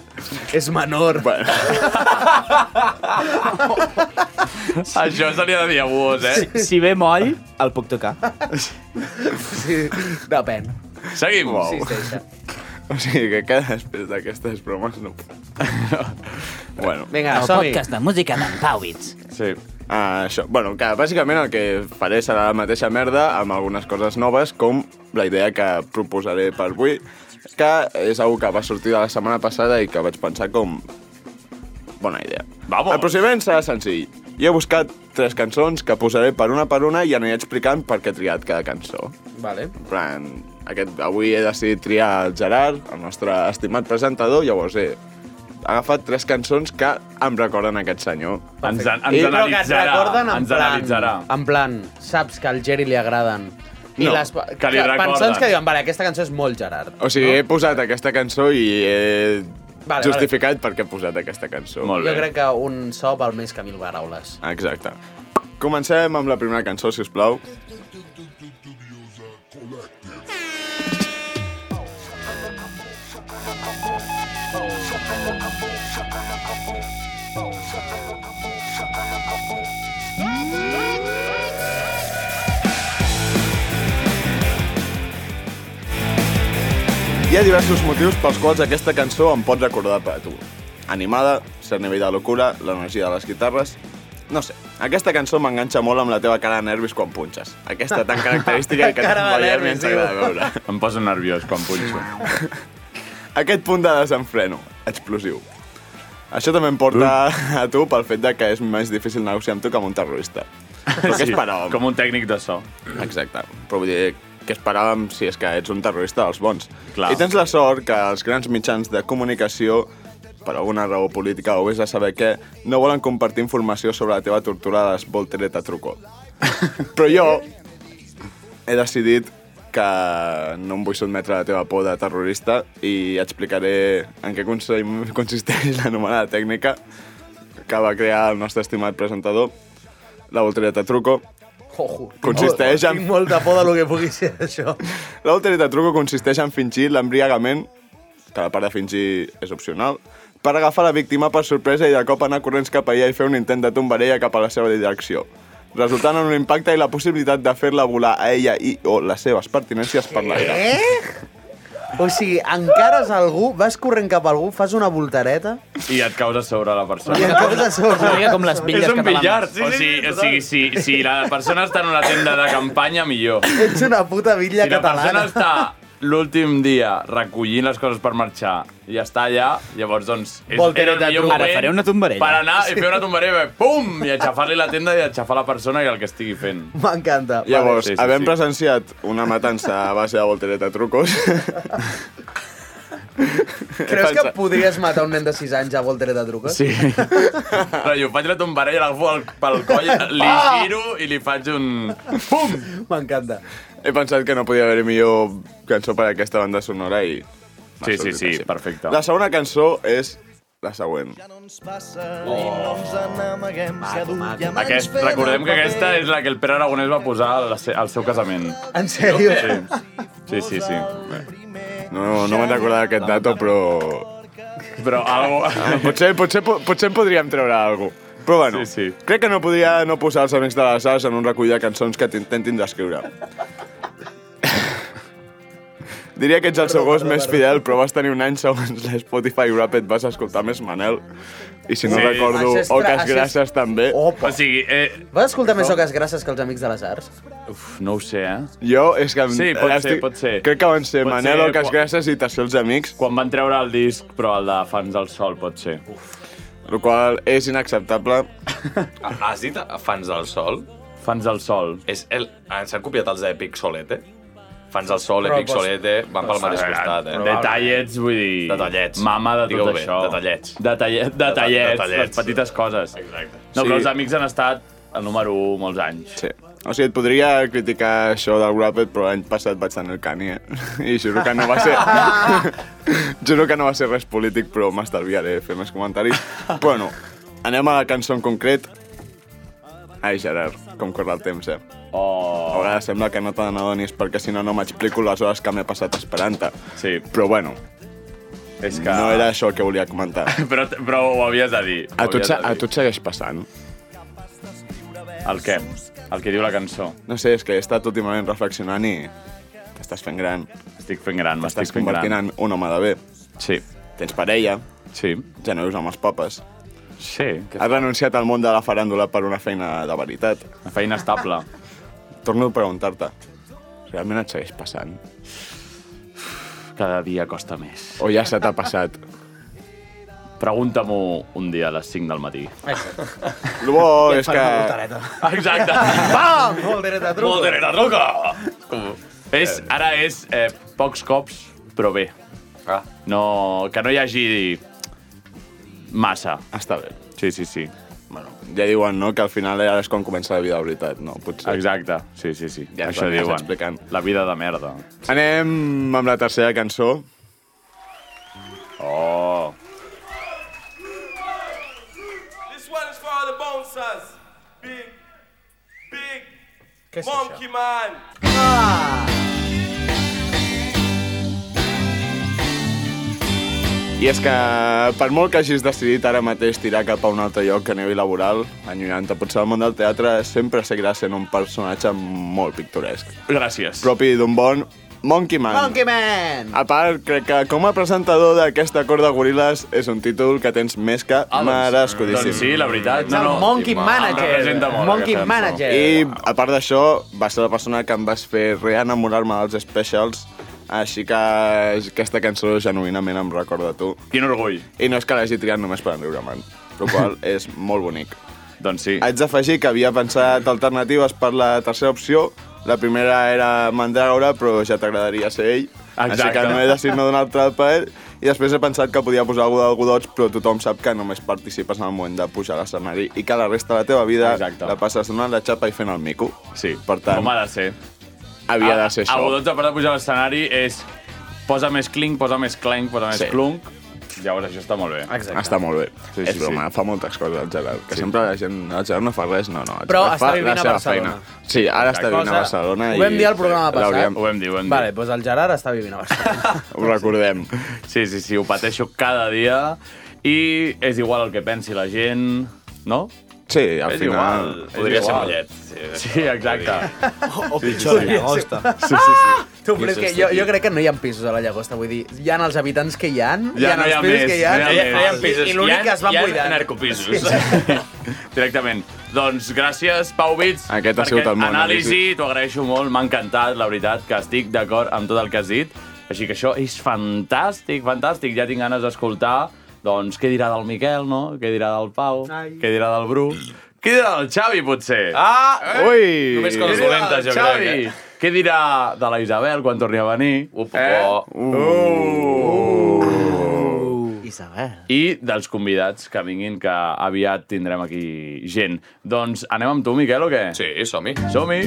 És menor. Bueno, (laughs) Això seria de diabús, eh? Si ve moll, el puc tocar. Sí, depèn. Seguim. Wow. (laughs) Sí, deixa. o sigui, que queda (laughs) després d'aquestes bromes no puc. bueno, Vinga, som-hi. de música d'en (laughs) Pauwitz. Sí. uh, això. Bueno, que bàsicament el que faré serà la mateixa merda amb algunes coses noves, com la idea que proposaré per avui, que és algo que va sortir de la setmana passada i que vaig pensar com... Bona idea. Vamos. El procediment serà senzill. I he buscat tres cançons que posaré per una per una i aniré explicant per què he triat cada cançó. Vale. En plan, aquest, avui he decidit triar el Gerard, el nostre estimat presentador, llavors he agafat tres cançons que em recorden aquest senyor. Ens, I- però que et recorden en plan- En plan, saps que al Geri li agraden. I No, les, que li recorden. Cançons que diuen, vale, aquesta cançó és molt Gerard. O sigui, he posat aquesta cançó i he vale. vale, justificat vale. per què he posat aquesta cançó. jo crec que un so val més que mil paraules. Exacte. Comencem amb la primera cançó, si us plau. Hi ha diversos motius pels quals aquesta cançó em pot recordar per a tu. Animada, cert nivell de locura, l'energia de les guitarres... No sé, aquesta cançó m'enganxa molt amb la teva cara de nervis quan punxes. Aquesta tan (laughs) característica que Cara tant de ballar-me nervis, ens agrada diu. veure. Em posa nerviós quan punxo. Aquest punt de desenfreno, explosiu. Això també em porta a tu pel fet de que és més difícil negociar amb tu que amb un terrorista. Però Sí, què esperàvem? Com un tècnic de so. Exacte. Però vull dir, què esperàvem si és que ets un terrorista dels bons? Clar. I tens la sort que els grans mitjans de comunicació per alguna raó política o vés a saber què, no volen compartir informació sobre la teva tortura de les voltereta truco. Però jo he decidit que no em vull sotmetre a la teva por de terrorista i explicaré en què consi- consisteix (laughs) l'anomenada tècnica que va crear el nostre estimat presentador, la voltereta truco, Ojo. Consisteix en- Tinc molta por de lo que pugui ser això. La voltereta truco consisteix en fingir l'embriagament, que la part de fingir és opcional, per agafar la víctima per sorpresa i de cop anar corrents cap allà i fer un intent de tombarella cap a la seva direcció, resultant en un impacte i la possibilitat de fer-la volar a ella i o les seves pertinències per l'aire. Eh? O sigui, encares algú, vas corrent cap a algú, fas una voltareta... I et caus a sobre la persona. I et caus a sobre. És una mica com les bitlles És un catalanes. billar. Sí, sí, o sigui, o sigui si, si la persona està en una tenda de campanya, millor. Ets una puta bitlla si la persona catalana. està l'últim dia recollint les coses per marxar i està allà, llavors doncs... És, era Voltereta el millor truco. Ara moment faré una tombarella. Per anar i Sí. fer una tombarella, i pum! I aixafar-li la tenda i aixafar la persona i el que estigui fent. M'encanta. Llavors, Sí, sí, havent sí. presenciat una matança a base de voltereta trucos... (laughs) Creus que podries matar un nen de 6 anys a voltereta truca? Sí. Però jo faig la tombarella, l'agafo al- pel coll, li Ah! Doncs giro i li faig un... Pum! M'encanta. He pensat que no podia haver millor cançó per a aquesta banda sonora i... Sí, sí, sí, perfecte. La segona cançó és la següent. Aquest, recordem que aquesta és la que el Pere Aragonès va posar al, se- al seu casament. En sèrio? Sí, sí, sí. sí. No, no me'n recordava aquest dato, però... Però algo... Ah, potser, potser, po- potser en podríem treure alguna cosa. Però bueno, sí, sí. crec que no podria no posar els amics de les arts en un recull de cançons que t'intentin descriure. (laughs) Diria que ets el seu gos més fidel, però vas tenir un any segons la Spotify Rap et vas escoltar més Manel. I si no Sí. sí. recordo, Això és tra- Oques això és- Grasses també. Opa. O sigui, eh, Vas escoltar més oques grasses que els amics de les arts? Uf, no ho sé, eh? Jo, és que... em- Sí, pot ser, estic- pot ser. Crec que van ser Pot Manel, ser, Oques quan- Grasses i Tercer els Amics. Quan van treure el disc, però el de Fans del Sol, pot ser. Uf. El qual és inacceptable. Has dit Fans del Sol? Fans del Sol. És el... ah, S'han copiat els d'Epic Solete? Fans del Sol, Però, Epic pues, Solete, van pel pues, mateix a veure, costat, eh? Detallets, vull dir... Detallets. Mama de tot Digueu bé, això. detallets. Detallet, Deta- detallets, detallets. les petites coses. Exacte. No, Sí. però els amics han estat el número 1 molts anys. Sí. O sigui, et podria criticar això del Wrapped, però l'any passat vaig tenir el Kanye. (laughs) I juro que no va ser... juro que no va ser res polític, però m'estalviaré fer més comentaris. bueno, anem a la cançó en concret. Ai, Gerard, com corre el temps, eh? Oh. A vegades sembla que no te n'adonis, perquè si no, no m'explico les hores que m'he passat esperant-te. Sí. Però bueno, És que... no era això el que volia (laughs) comentar. però, però ho havies de dir. A ho tu, havies et se- de a dir. tu et segueix passant? El què? El que diu la cançó. No sé, és que he estat últimament reflexionant i t'estàs fent gran. Estic fent gran, m'estic fent convertint gran. en un home de bé. Sí. Tens parella. Sí. Ja no vius amb els papes. Sí. Has renunciat al món de la faràndula per una feina de veritat. Una feina estable. Torno a preguntar-te. Realment et segueix passant? Cada dia costa més. (laughs) O ja se t'ha passat? Pregunta-m'ho un dia a les 5 del matí. El bo Ja et és fan que... una Exacte. Pam! Voldereta truca. Voldereta truca! Com... És, ara és eh, pocs cops, però bé. Ah. No, que no hi hagi massa. Està bé. Sí, sí, sí. Bueno, ja diuen, no?, que al final ara és quan comença la vida de veritat, no? Potser. Exacte, sí, sí, sí. Ja Això està, ja està diuen. explicant. La vida de merda. Anem amb la tercera cançó. Oh. This one is for all the bouncers. Big, big, monkey man. I és que, per molt que hagis decidit ara mateix tirar cap a un altre lloc que nevi laboral, allunyant-te potser al món del teatre, sempre seguiràs sent un personatge molt pictoresc. Gràcies. Propi d'un bon Monkey Man. Monkey Man! A part, crec que com a presentador d'aquesta cor de goril·les és un títol que tens més que ah, merescudíssim. doncs sí, la veritat. No, no. Monkey Manager. Em representa molt, Monkey aquesta cançó. Manager. I a part d'això, va ser la persona que em vas fer reenemorar-me dels specials, així que aquesta cançó genuïnament em recorda a tu. Quin orgull. I no és que l'hagi triat només per enriure-me'n, el qual és molt bonic. Doncs sí. Haig d'afegir que havia pensat alternatives per la tercera opció. La primera era Mandragora, però ja t'agradaria ser ell. Exacte. Així que no he decidit no donar el trap per ell. I després he pensat que podia posar algú d'algodots, però tothom sap que només participes en el moment de pujar a l'escenari i que la resta de la teva vida Exacte. la passes donant la xapa i fent el mico. Sí, per tant, com ha de ser. havia de ser això. El botó per pujar a l'escenari és posa més clink, posa més clenc, posa més Sí. sí. clunk. Llavors això està molt bé. Està molt bé. sí, Sí, és broma, fa moltes coses el Gerard. Que Sí. sempre la gent... El Gerard no fa res, no, no. el Però Gerard està fa vivint la a seva Barcelona. Feina. Sí, ara està vivint a Barcelona. Ho vam dir al programa Sí, passat. l'hauríem- Ho vam dir, ho vam dir. Vale, doncs el Gerard està vivint a Barcelona. Ho recordem. Sí, sí, sí, ho pateixo cada dia i és igual el que pensi la gent, no? Sí, al és final... Igual. és Podria ser igual. Mollet. Sí, sí exacte. O, o pitjor, la llagosta. Sí, sí, sí. Tu, però és que jo, jo crec que no hi ha pisos a la llagosta, vull dir, hi ha els habitants que hi ha, hi ha no els pisos que hi ha, no hi més. i- i l'únic que es van Hi ha buidant. narcopisos. (laughs) Directament. Doncs gràcies, Pau Bits. Aquest ha per sigut el món, Anàlisi, anàlisi. t'ho agraeixo molt, m'ha encantat, la veritat, que estic d'acord amb tot el que has dit. Així que això és fantàstic, fantàstic. Ja tinc ganes d'escoltar, doncs, què dirà del Miquel, no? Què dirà del Pau? Ai. Què dirà del Bru? Què dirà del Xavi, potser? Eh? Ah! Ui! Només coses Què dirà dolentes, del jo crec, Xavi? eh? Què dirà de la Isabel quan torni a venir? Up, eh? Isabel. i dels convidats que vinguin, que aviat tindrem aquí gent. Doncs anem amb tu, Miquel, o què? Sí, som-hi. Som-hi.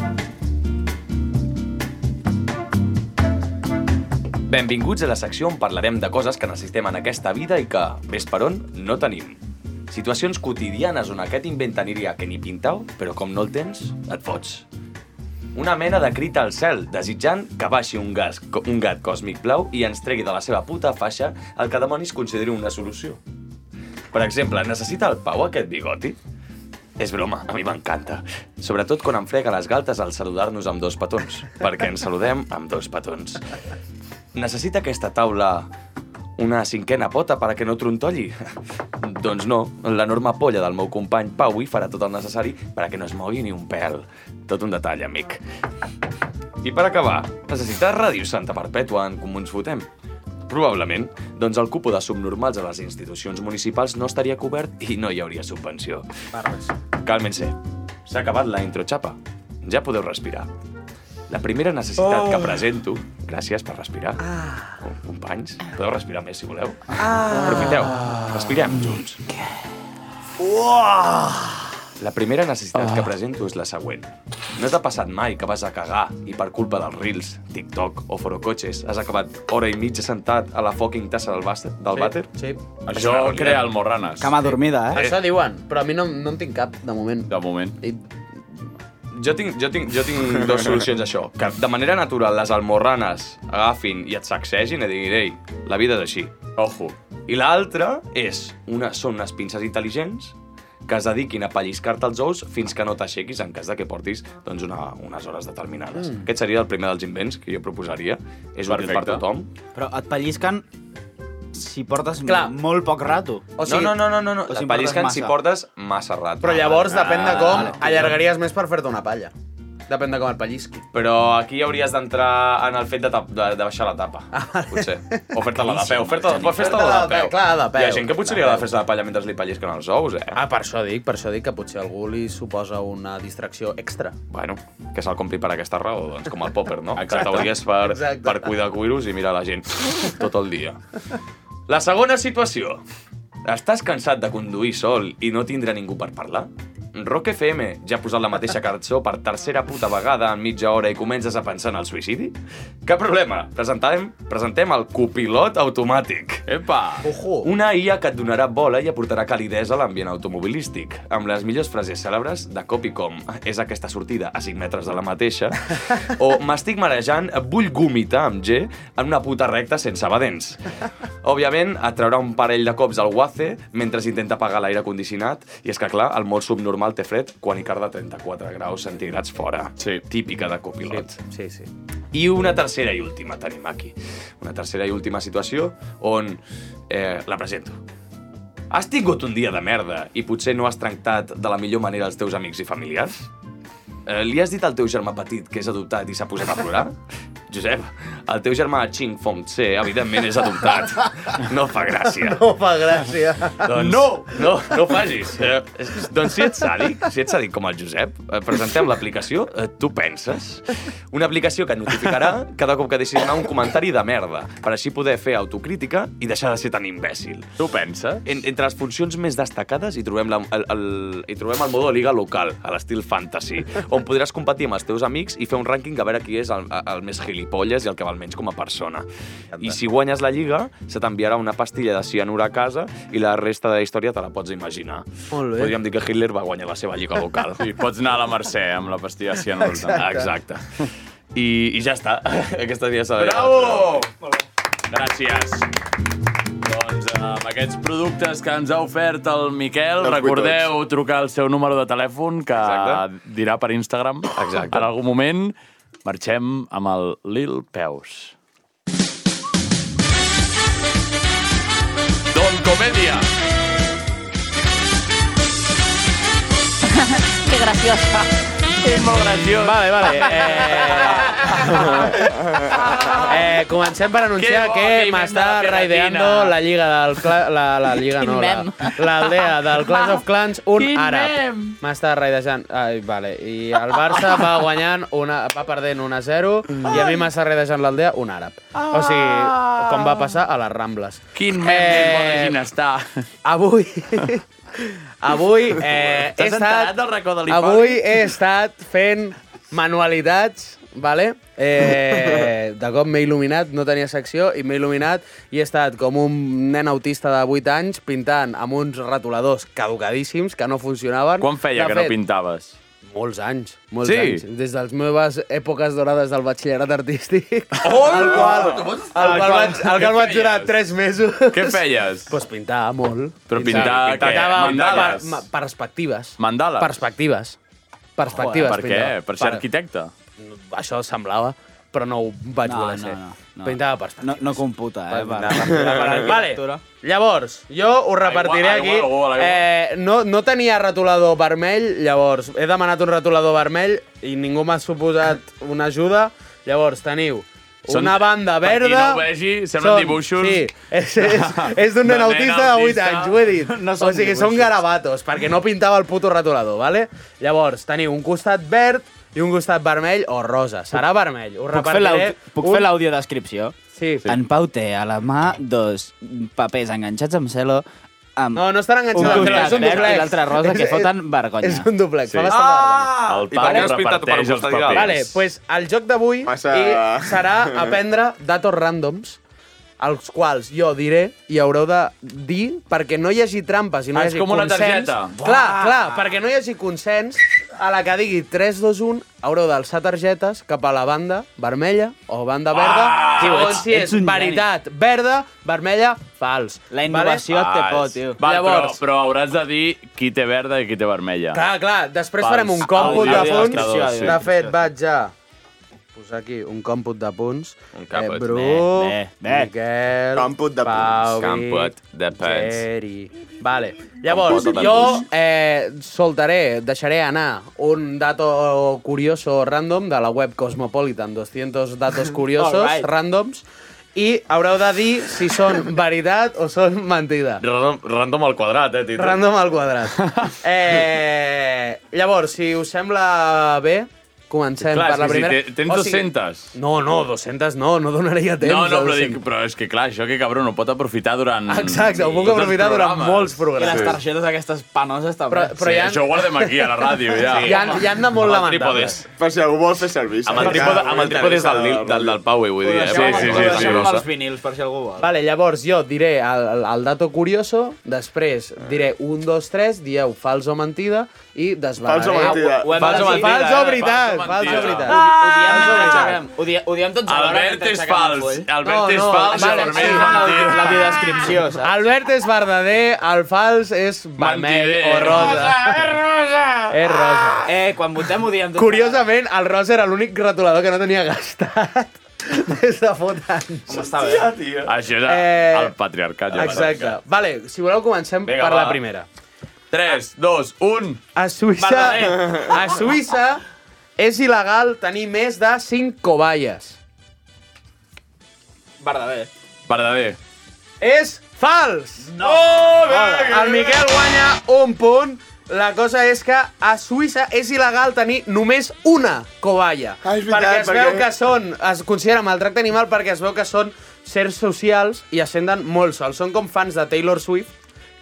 Benvinguts a la secció on parlarem de coses que necessitem en aquesta vida i que, ves per on, no tenim. Situacions quotidianes on aquest invent aniria que ni pintau, però com no el tens, et fots. Una mena de crit al cel, desitjant que baixi un, gas, co- un gat còsmic blau i ens tregui de la seva puta faixa el que demonis consideri una solució. Per exemple, necessita el Pau aquest bigoti? És broma, a mi m'encanta. Sobretot quan em frega les galtes al saludar-nos amb dos petons, perquè ens saludem amb dos petons. Necessita aquesta taula una cinquena pota perquè no (laughs) trontolli? doncs no, l'enorme polla del meu company Pau hi farà tot el necessari perquè no es mogui ni un pèl. Tot un detall, amic. I per acabar, necessitar Ràdio Santa Perpètua en com ens fotem? Probablement. Doncs el cupo de subnormals a les institucions municipals no estaria cobert i no hi hauria subvenció. Calmen-se. S'ha acabat la intro xapa. Ja podeu respirar. La primera Oh. necessitat oh. que presento... Gràcies per respirar. Ah. Companys, podeu respirar més si voleu. Ah. Aprofiteu. Respirem junts. La primera necessitat que presento és la següent. No t'ha passat mai que vas a cagar i per culpa dels reels, TikTok o forocotxes has acabat hora i mitja sentat a la fucking tassa del, bàster, del vàter? Sí. És una realitat. Sí. eh? Això diuen, però a mi no, no en tinc cap, de moment. De moment. I... Jo tinc, jo, tinc, jo tinc dues solucions a això. Que de manera natural les almorranes agafin i et sacsegin i diguin ei, la vida és així. Ojo. I l'altra és, una, són unes pinces intel·ligents que es dediquin a palliscar-te els ous fins que no t'aixequis en cas de que portis doncs, una, unes hores Mm. determinades. Mm. Aquest seria el primer dels invents que jo proposaria. És útil per Perfecte. tothom. Però et pallisquen si portes Clar. molt poc rato. O sigui, no, no, no, no, no. O Si si et en pallisquen portes si massa. portes massa rato. Però llavors, Ah, depèn de com, vale. allargaries més per fer-te una palla. Depèn de com et pallisqui. Però aquí hauries d'entrar en el fet de, tap, de, de baixar la tapa, Ah, potser. O fer-te-la de Caríssim. peu, fer-te fer-te-la de Fer-te-la de peu. peu, clar, de peu. Hi ha gent que potser De li agrada peu. fer-se la palla mentre li pallisquen els ous, eh? Ah, per això dic, per això dic que potser algú li suposa una distracció extra. Bueno, que se'l compri per aquesta raó, doncs com el popper, no? Categories per, Exacte. per cuidar cuiros i mirar la gent tot el dia. La segona situació. Estàs cansat de conduir sol i no tindre ningú per parlar? Rock FM ja ha posat la mateixa cançó per tercera puta vegada en mitja hora i comences a pensar en el suïcidi? Cap problema, presentem, presentem el copilot automàtic. Epa! Ojo! Una IA que et donarà bola i aportarà calidesa a l'ambient automobilístic, amb les millors frases cèlebres de cop i com. Ah, És aquesta sortida a 5 metres de la mateixa. O m'estic marejant, vull gomitar amb G en una puta recta sense badents. Òbviament, et traurà un parell de cops al guace mentre intenta apagar l'aire condicionat i és que, clar, el molt subnormal té fred quan hi carda 34 graus centígrads fora. Sí. Típica de copilot. Sí, sí. I una tercera i última tenim aquí. Una tercera i última situació on eh, la presento. Has tingut un dia de merda i potser no has tractat de la millor manera els teus amics i familiars? Eh, li has dit al teu germà petit que és adoptat i s'ha posat a plorar? Josep, el teu germà Ching Fong Tse, evidentment, és adoptat. No fa gràcia. No fa gràcia. Doncs, no! No, no ho facis. Eh, és- doncs si ets sàdic, si ets sàdic com el Josep, eh, presentem l'aplicació eh, Tu penses. Una aplicació que et notificarà cada cop que deixis anar un comentari de merda, per així poder fer autocrítica i deixar de ser tan imbècil. Tu penses? En, entre les funcions més destacades hi trobem, la, el, el, hi trobem el modo liga local, a l'estil fantasy, on podràs competir amb els teus amics i fer un rànquing a veure qui és el, el més gilipolles i el que val menys com a persona. I si guanyes la lliga, se t'enviarà una pastilla de cianur a casa i la resta de la història te la pots imaginar. Molt bé. Podríem dir que Hitler va guanyar la seva lliga (laughs) local. I pots anar a la Mercè amb la pastilla de cianur. Exacte. I, I ja està. (laughs) Aquesta dia s'ha de- Bravo! Gràcies. Doncs eh, amb aquests productes que ens ha ofert el Miquel, Els recordeu trucar al seu número de telèfon, que Exacte. dirà per Instagram. Exacte. En algun moment marxem amb el Lil Peus. Don Comèdia. que graciós. És molt graciós. Vale, vale. (laughs) Eh, eh, comencem per anunciar Que bo, que, que m'està inventa la raideando pegatina. la lliga del... Cla la, la lliga no, la, mem. l'aldea del Clash of Clans, un Quin àrab. mem. M'està raidejant. Ai, vale. I el Barça va guanyant, una, va perdent 1-0, i a mi m'està raidejant l'aldea un àrab. O sigui, com va passar a les Rambles. Eh, Quin mem més bona quina està. Avui... (laughs) Avui eh, he T'has estat... enterat del racó de l'Ipari? Avui he estat fent manualitats, vale? Eh, de cop m'he il·luminat, no tenia secció, i m'he il·luminat i he estat com un nen autista de 8 anys pintant amb uns retoladors caducadíssims que no funcionaven. Quan feia De que no fet, pintaves? Molts anys. Molts Sí? anys. Des de les meves èpoques dorades del batxillerat artístic. Oh! El qual, el qual, Què vaig, el qual vaig durar 3 mesos. Què feies? Pues pintar molt. Però pintar, Pintar- què? pintava Mandales? per- ma- perspectives. Mandales? Perspectives. Perspectives. Joder, per què? pintava. Per ser arquitecte? Això semblava, però no ho vaig No, voler no, ser. no, no. Pintava perspectives. No computa, eh? Va, per- va, (laughs) per va, Vale, arquitectura. llavors, jo ho repartiré Aigua, aquí. aigua, aigua, aigua. Eh, no, no tenia retolador vermell, llavors he demanat un retolador vermell i ningú m'ha suposat una ajuda. Llavors teniu Són- una banda per qui verda... no ho vegi, semblen dibuixos. Sí, és, (laughs) és, és d'un De nen nen autista de 8 autista. anys, ho he dit. (laughs) No o són sigui, són dibuixos. garabatos, perquè no pintava el puto retolador, vale? Llavors, teniu un costat verd i un costat vermell o rosa. Serà vermell. Ho Puc fer repartiré... l'au- Puc fer l'audiodescripció? Sí. En Pau té a la mà dos papers enganxats amb celo amb No, no estan enganxats un amb celo, costat és un verd duplex. i l'altre rosa que És- foten vergonya. és un duplex, fa bastant ah! El Pau reparteix els papers. Vale, pues el joc d'avui Massa- i serà aprendre datos randoms els quals jo diré i haureu de dir perquè no hi hagi trampes i no Ah, és hi hagi com una consens. targeta. Clar, clar, perquè no hi hagi consens, a la que digui 3, 2, 1, haureu d'alçar targetes cap a la banda vermella o banda verda, ah! Tio, segons ets- si ets és un geni. veritat verda, vermella, fals. La Val, Llavors, Llavors... però, però hauràs de dir qui té verda i qui té vermella. Clar, clar, després Pels farem un còmput de àudios fons. espectadors, sí. De fet, vaig a posar aquí un còmput de punts. Un càmput. Bru, Bé, bé, bé. Miquel, Còmput de punts. Pau, Càmput de punts. Geri. Vale. Llavors, Còmput de jo punts. eh, soltaré, deixaré anar un dato curioso random de la web Cosmopolitan, 200 (laughs) datos curiosos Alright. randoms, i haureu de dir si són veritat o són mentida. Random, random al quadrat, eh, Tito? Random (laughs) al quadrat. Eh, llavors, si us sembla bé, comencem Clar, per la és que si primera. te- tens 200. No, no, 200 no, no donaria temps. No, no, a però, 200. dic, però és que clar, això que cabrón ho pot aprofitar durant... Exacte, ho puc tots els aprofitar durant programes. molts programes. Sí. targetes aquestes panoses també. Però, però Sí, ja... això ho guardem aquí, a la ràdio, ja. Hi ha, hi ha de molt Amb el lamentables. trípodes. Per si algú vol fer servir. Amb el trípode, amb el trípode és del, del, del, del Pau, vull dir, eh? Sí, sí, sí, sí, Deixem grossa. els vinils, per si algú vol. Vale, llavors jo diré el, el- el dato curioso, després diré 1, 2, 3, dieu fals o mentida i desvelaré... Fals o mentida. Ho- ho hem Fals o decidit. mentida, Fals o eh? Fals o veritat, fals o mentida. veritat. Ah! Odiem tots els aixequem. Odie- odiem tots alhora Albert mentre és aixequem el fals. full. Albert és fals, Albert és la- La descripció, saps? Albert és verdader, el fals és vermell o rosa. És rosa! És rosa. Eh, quan votem odiem tots Curiosament, el rosa era l'únic gratulador que no tenia gastat (laughs) des de fot anys. Com està bé. Ah, Ja, tio. Això és Eh, el patriarcat. ja Exacte. Vale, si voleu comencem Vinga, per va. la primera. 3, 2, 1... A Suïssa, Verdader. a Suïssa és il·legal tenir més de 5 cobayes. Verdader. Verdader. Oh, És fals! No! El Miquel guanya un punt. La cosa és que a Suïssa és il·legal tenir només una cobaya. perquè es veu que són... Es considera maltracte animal perquè es veu que són sers socials i ascenden molt sols. Són com fans de Taylor Swift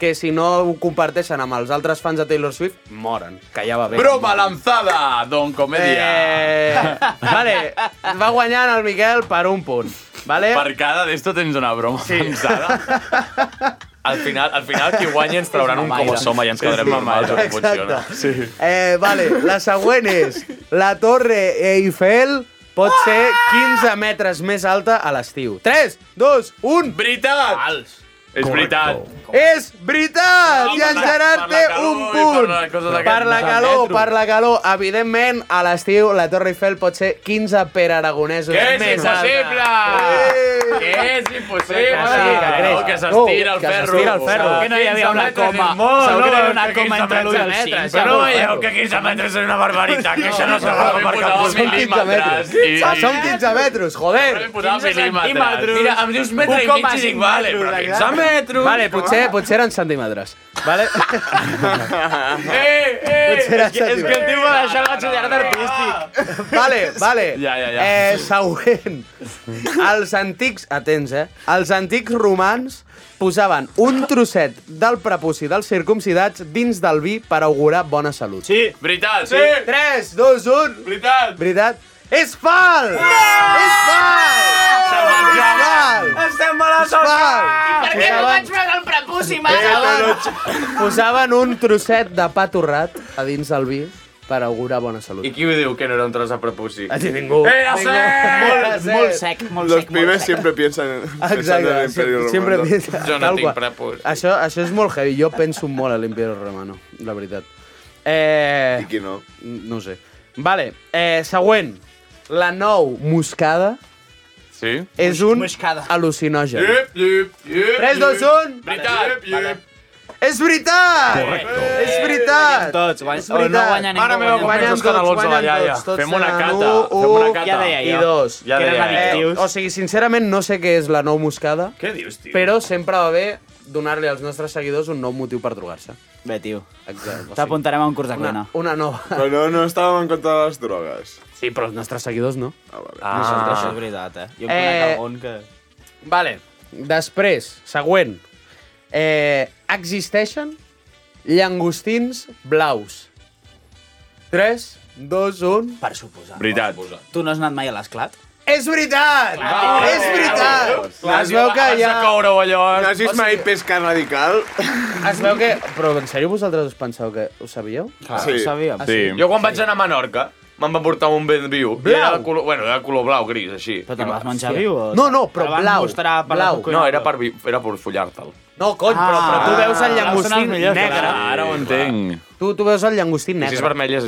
que si no ho comparteixen amb els altres fans de Taylor Swift, moren, que ja va bé. Broma lanzada, don Comedia. Eh, vale, va guanyant el Miquel per un punt. Vale? Per cada d'esto tens una broma sí. pensada. Al final, al final qui guanyi ens trauran un com soma i ens quedarem sí, normals. mamaire. no funciona. (laughs) Sí. Eh, vale, la següent és... La Torre Eiffel pot ser 15 metres més alta a l'estiu. 3, 2, 1... Veritat! Fals. És veritat. És veritat! No, I en per la- Gerard per la té calor un i per punt. les coses Per, d'aquest- la del calor, metro. per la calor. Evidentment, a l'estiu la Torre Eiffel pot ser 15 per aragonesos Que és més alta. impossible! Que és impossible! Que sí, que creix. No, que s'estira el Que ferro. s'estira el ferro. Saps? Que no hi havia una 15 metres coma. és molt, Segur que no, era una que coma 15 entre l'u i el metres, cinc, Però no segur, veieu ferro. que 15 metres és una barbaritat, que això no s'agafa per cap Són 15 metres. Són 15 metres, joder. Posava mil·límetres. Mira, em dius metre i mig i dic, vale, però 15 metres. Vale, potser, potser eren centímetres. (laughs) Vale? Eh, eh! Potser era És que, és que el tio va deixar el batxillerat artístic. (laughs) Vale, vale. Ja, ja, ja. Eh, següent. Els antics... Atents, eh? Els antics romans posaven un trosset del prepuci dels circumcidats dins del vi per augurar bona salut. Sí. Veritat. Sí. 3, 2, 1... Veritat. Veritat. És fals! És fals! És fals! Estem malalts al cap! I per què no vaig veure el prepuci, Posaven, posaven un trosset de pa torrat a dins del vi per augurar bona salut. I qui ho diu que no era un tros de prepuci? A ti ningú. Era cert! Molt, molt sec, Los pibes siempre piensan en Exacte, el sempre, Imperio sempre Romano. piensa... tal qual. Això, això és molt heavy, jo penso molt a l'Imperi Romano, la veritat. Eh... I qui no? No ho sé. Vale, eh, següent. La nou moscada Sí. és un al·lucinogen. Llup, llup, llup, 3, 2, llup. 1... Veritat. És veritat! Correcte. És veritat! Eh, Tots, guany... És veritat. Mare meva, com Guanyen penses que tots, la Lotsa la guanyen iaia. tots, tots Fem una seran cata, u, fem una u cata. Ja deia I jo. dos. Ja Que eren deia eh, jo. addictius. o sigui, sincerament, no sé què és la nou moscada. Què dius, tio? Però sempre va bé donar-li als nostres seguidors un nou motiu per drogar-se. Bé, tio. Exacte. T'apuntarem a un curs de cuina. Una, una nova. Però no, no estàvem en contra de les drogues. Sí, però els nostres seguidors no. Ah, vale. Ah. Nosaltres Això sí. és veritat, eh? Jo em conec Eh, algun que... Vale. Després, següent. Eh, existeixen llangostins blaus. 3, 2, 1... Per suposar. Veritat. Tu no has anat mai a l'esclat? És veritat! Clar, Ah, és clar, veritat! clar. es veu que Has de hi ha... coure-ho allò. No has vist mai pesca radical? Ah, Es veu que... Però en sèrio vosaltres us penseu que ho sabíeu? Sí. Ah, Sí. Jo quan vaig anar a Menorca, me'n va portar un ben viu. I era de Blau. color, bueno, era de color blau, gris, així. Però te'l vas menjar viu, o- No, no, però blau. blau, blau. No, era per, vi- era per follar-te'l. No, cony, però, però tu Ah, veus el són els llangostí millors. negre. Clar, ara ho entenc. Tu, tu veus el llangostí negre.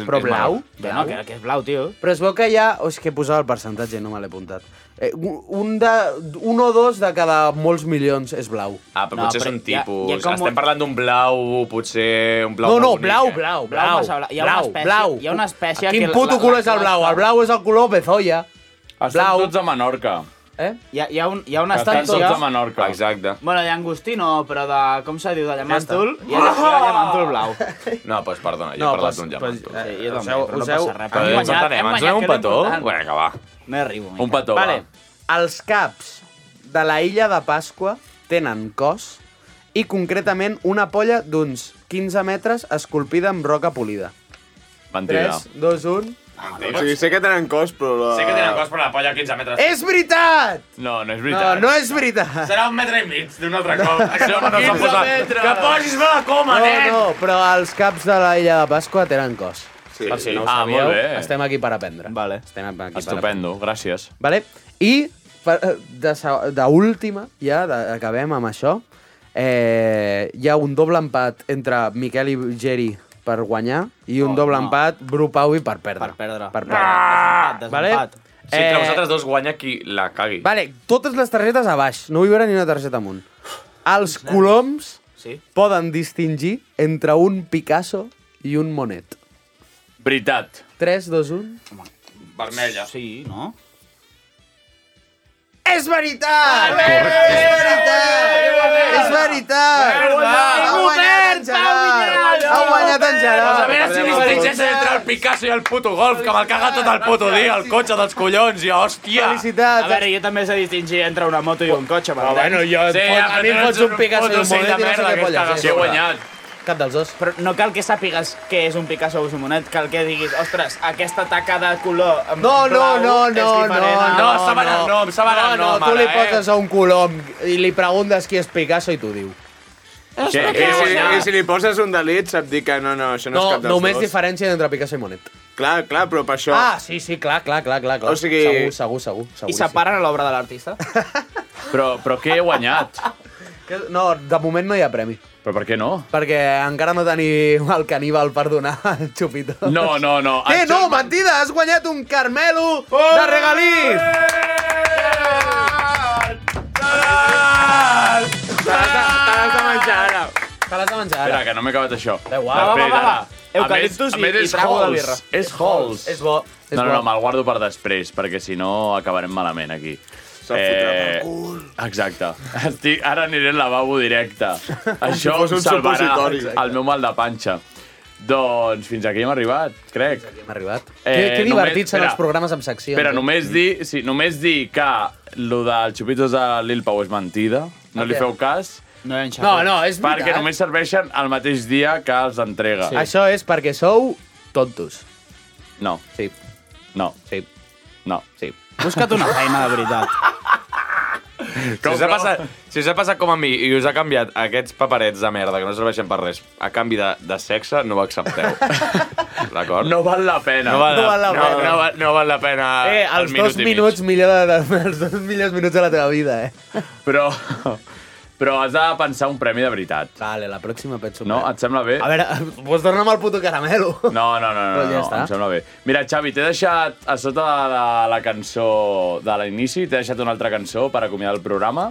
Però blau? No, que, que és blau, tio. Però es veu que hi ha... Oh, és que posava el percentatge, no me l'he apuntat. Eh, un, un de, un o dos de cada molts milions és blau. Ah, però No, potser és però un hi ha- tipus... hi ha com Estem un- parlant d'un blau, potser un blau no, no, molt bonic, blau, eh? blau, Blau blau, massa blau. Hi ha una blau, espècie- blau. hi ha una espècie Quin que la- puto la- la- color és el blau? la- El blau és el color bezolla. Estan tots a Menorca. Eh? Hi ha, hi ha, un, hi ha una Estan estància... tots a Menorca. Exacte. Bueno, llangostí no, però de... Com se diu? De llamàntol? està. Hi ha, hi ha llamàntol blau. No, doncs perdona, jo No, he parlat pues- d'un doncs, pues, llamàntol. eh, jo també, Useu- però no useu- passa res. Però Hem ens guanyat, entenem, hem ens donem guanyat, un que petó? era important. Vinga, va. No arribo. Un petó, vale. va. Els caps de la illa de Pasqua tenen cos i concretament una polla d'uns 15 metres esculpida amb roca polida. Mentida. 3, 2, 1... O sigui, sé que tenen cos, però... La... Sé que tenen cos, però la polla a 15 Eh. metres. És veritat! No, no és Eh! No, veritat. no és veritat! Serà un metre i mig d'un altre cop. Això no s'ha 15 posat. metres. Que posis-me la coma, no, nen! no, però els caps de la illa de Pasqua tenen cos. Sí. Per si no ho Ah, sabíeu, molt bé. estem aquí per aprendre. Vale. Eh. Estem aquí per aprendre. Estupendo, gràcies. Vale? I per- de sa- d'última, ja de- acabem amb això, eh, hi ha un doble empat entre Miquel i Geri per guanyar i un oh, doble no. empat Bru Pau i per perdre. Per perdre. Per perdre. Ah! Desempat. Si entre vosaltres dos guanya qui la cagui. Vale, totes les targetes a baix, no vull veure ni una targeta amunt. Els coloms Sí. poden distingir entre un Picasso i un Monet. Veritat. 3, 2, 1... Vermella. Sí, no? És veritat! És veritat! És veritat! Ha guanyat en Gerard! Ha guanyat en Pues a veure Gerard! Doncs si distingeix entre el Picasso i el puto golf, que me'l caga tot el puto dia, el cotxe dels collons, i hòstia! A veure, jo també sé distingir entre una moto i un cotxe, m'entens? sí, ja, però tu ets puto ocell de merda, que és caga- Sí, he guanyat. Cap dels dos. Però no cal que sàpigues què és un Picasso o un Monet, cal que diguis, ostres, aquesta taca de color en No, no, blau no, és no, no, diferent a- no, el nom, saben el No, nom, tu li ara, eh? poses a un colom i li preguntes qui és Picasso i t'ho diu. I si, I si li poses un delit, sap dir que no, no, això no, No, és cap dels només dos. diferència entre Picasso i Monet. Clar, clar, però per això... Ah, sí, sí, clar, clar, clar, clar. clar. O sigui- Segur, segur, segur. segur I separen l'obra de l'artista? Però, però què he guanyat? Que- No, de moment no hi ha premi. Però per què no? Perquè encara no teniu el caníbal per donar (laughs) el xupito. No, no, no. (laughs) Eh, En no, Gerard- mentida! Has guanyat un Carmelo Oh! de regaliz! Te l'has de menjar ara. Te l'has de menjar ara. Espera, que no m'he acabat això. Da igual. Espera, Va, va, va, va. ara. Eucaliptus a més, a i- més i és trago de Halls. birra. És Halls. És bo. És No, no, no, bo. me'l guardo per després, perquè si no acabarem malament aquí. Eh, Se'l fotrà pel Exacte. Estic, ara aniré al lavabo directe. (laughs) Això fos em un salvarà supositori. el meu mal de panxa. Doncs fins aquí hem arribat, crec. Hem arribat. Eh, que, que divertits són els programes amb seccions. Però eh? només dir, sí, només dir que lo dels xupitos de Lil Pau és mentida, no li què? feu cas. No, No, no, és veritat. Perquè només serveixen el mateix dia que els entrega. Sí. Això és perquè sou tontos. No. Sí. No. Sí. No. Sí. Busca't una feina, de veritat. Si us, ha passat, si us ha passat com a mi i us ha canviat aquests paperets de merda que no serveixen per res a canvi de, de sexe, no ho (laughs) accepteu. D'acord? No val la pena. No val, No val la no, pena. No, val, no val la pena (laughs) Eh, el els minut dos i mig. minuts millor de, de, els dos millors minuts de la teva vida, eh? Però, (laughs) però has de pensar un premi de veritat. Vale, la pròxima penso No, et sembla bé? A veure, vols tornar amb el puto caramelo? No, no, no, no, Però ja no, està. em sembla bé. Mira, Xavi, t'he deixat a sota de la, la cançó de l'inici, t'he deixat una altra cançó per acomiadar el programa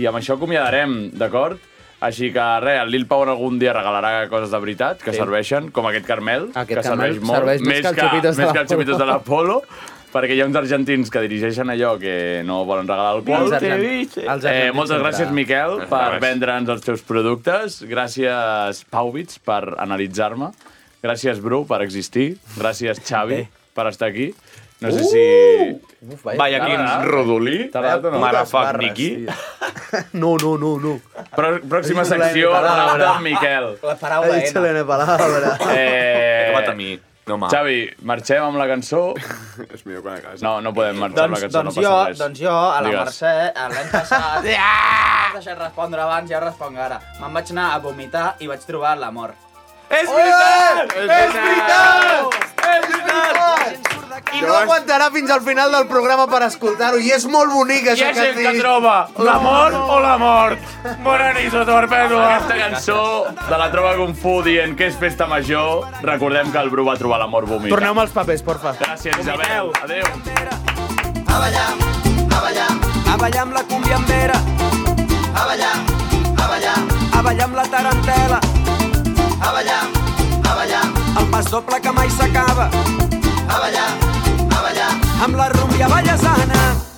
i amb això acomiadarem, d'acord? Així que res, el Lil Pau en algun dia regalarà coses de veritat que Sí. sí. serveixen, com aquest Carmel, Aquest que serveix Carmel molt, serveix més que els xupitos de més que els l'Apolo. xupitos de l'Apolo, perquè hi ha uns argentins que dirigeixen allò que no volen regalar alcohol. Els argen- els eh, argentins moltes sempre. gràcies, Miquel, Res. per vendre'ns els teus productes. Gràcies, Pauvits, per analitzar-me. Gràcies, Bru, per existir. Gràcies, Xavi, per estar aquí. No sé si... Uf, Vaya, quin rodolí. T'ha agradat o no? Marafac, barres, Niqui. (laughs) No, no, no, no. Prò- Pròxima Ha dit secció, la N la paraula. de Miquel. (laughs) La Ha dit Selena Palabra. (laughs) Eh, He acabat a mi. No, ma. Xavi, marxem amb la cançó. És millor quan acabes. No, no podem marxar amb la Doncs, cançó, doncs, no jo, passa res. doncs jo, a la Digues. Mercè, a l'any (laughs) passat... Ja! M'has deixat respondre abans, ja responc ara. Me'n vaig anar a vomitar i vaig trobar l'amor. És veritat! És veritat! És veritat! I no aguantarà fins al final del programa per escoltar-ho, i és molt bonic, Qui això és que el has dit. que troba? L'amor o la mort? Bona nit, Sota Perpètua. Aquesta cançó cançó de la troba Kung Fu dient que és festa major, recordem que el Bru va trobar l'amor vomita. Torneu-me els papers, porfa. Gràcies, Isabel. Adéu. A ballar, a ballar, a ballar amb la cumbiambera. A ballar, a ballar, a ballar amb la tarantela. A ballar, a ballar, el pas doble que mai s'acaba. A ballar, a ballar, amb la rumbia ballesana. Oh, eh, Oh, eh,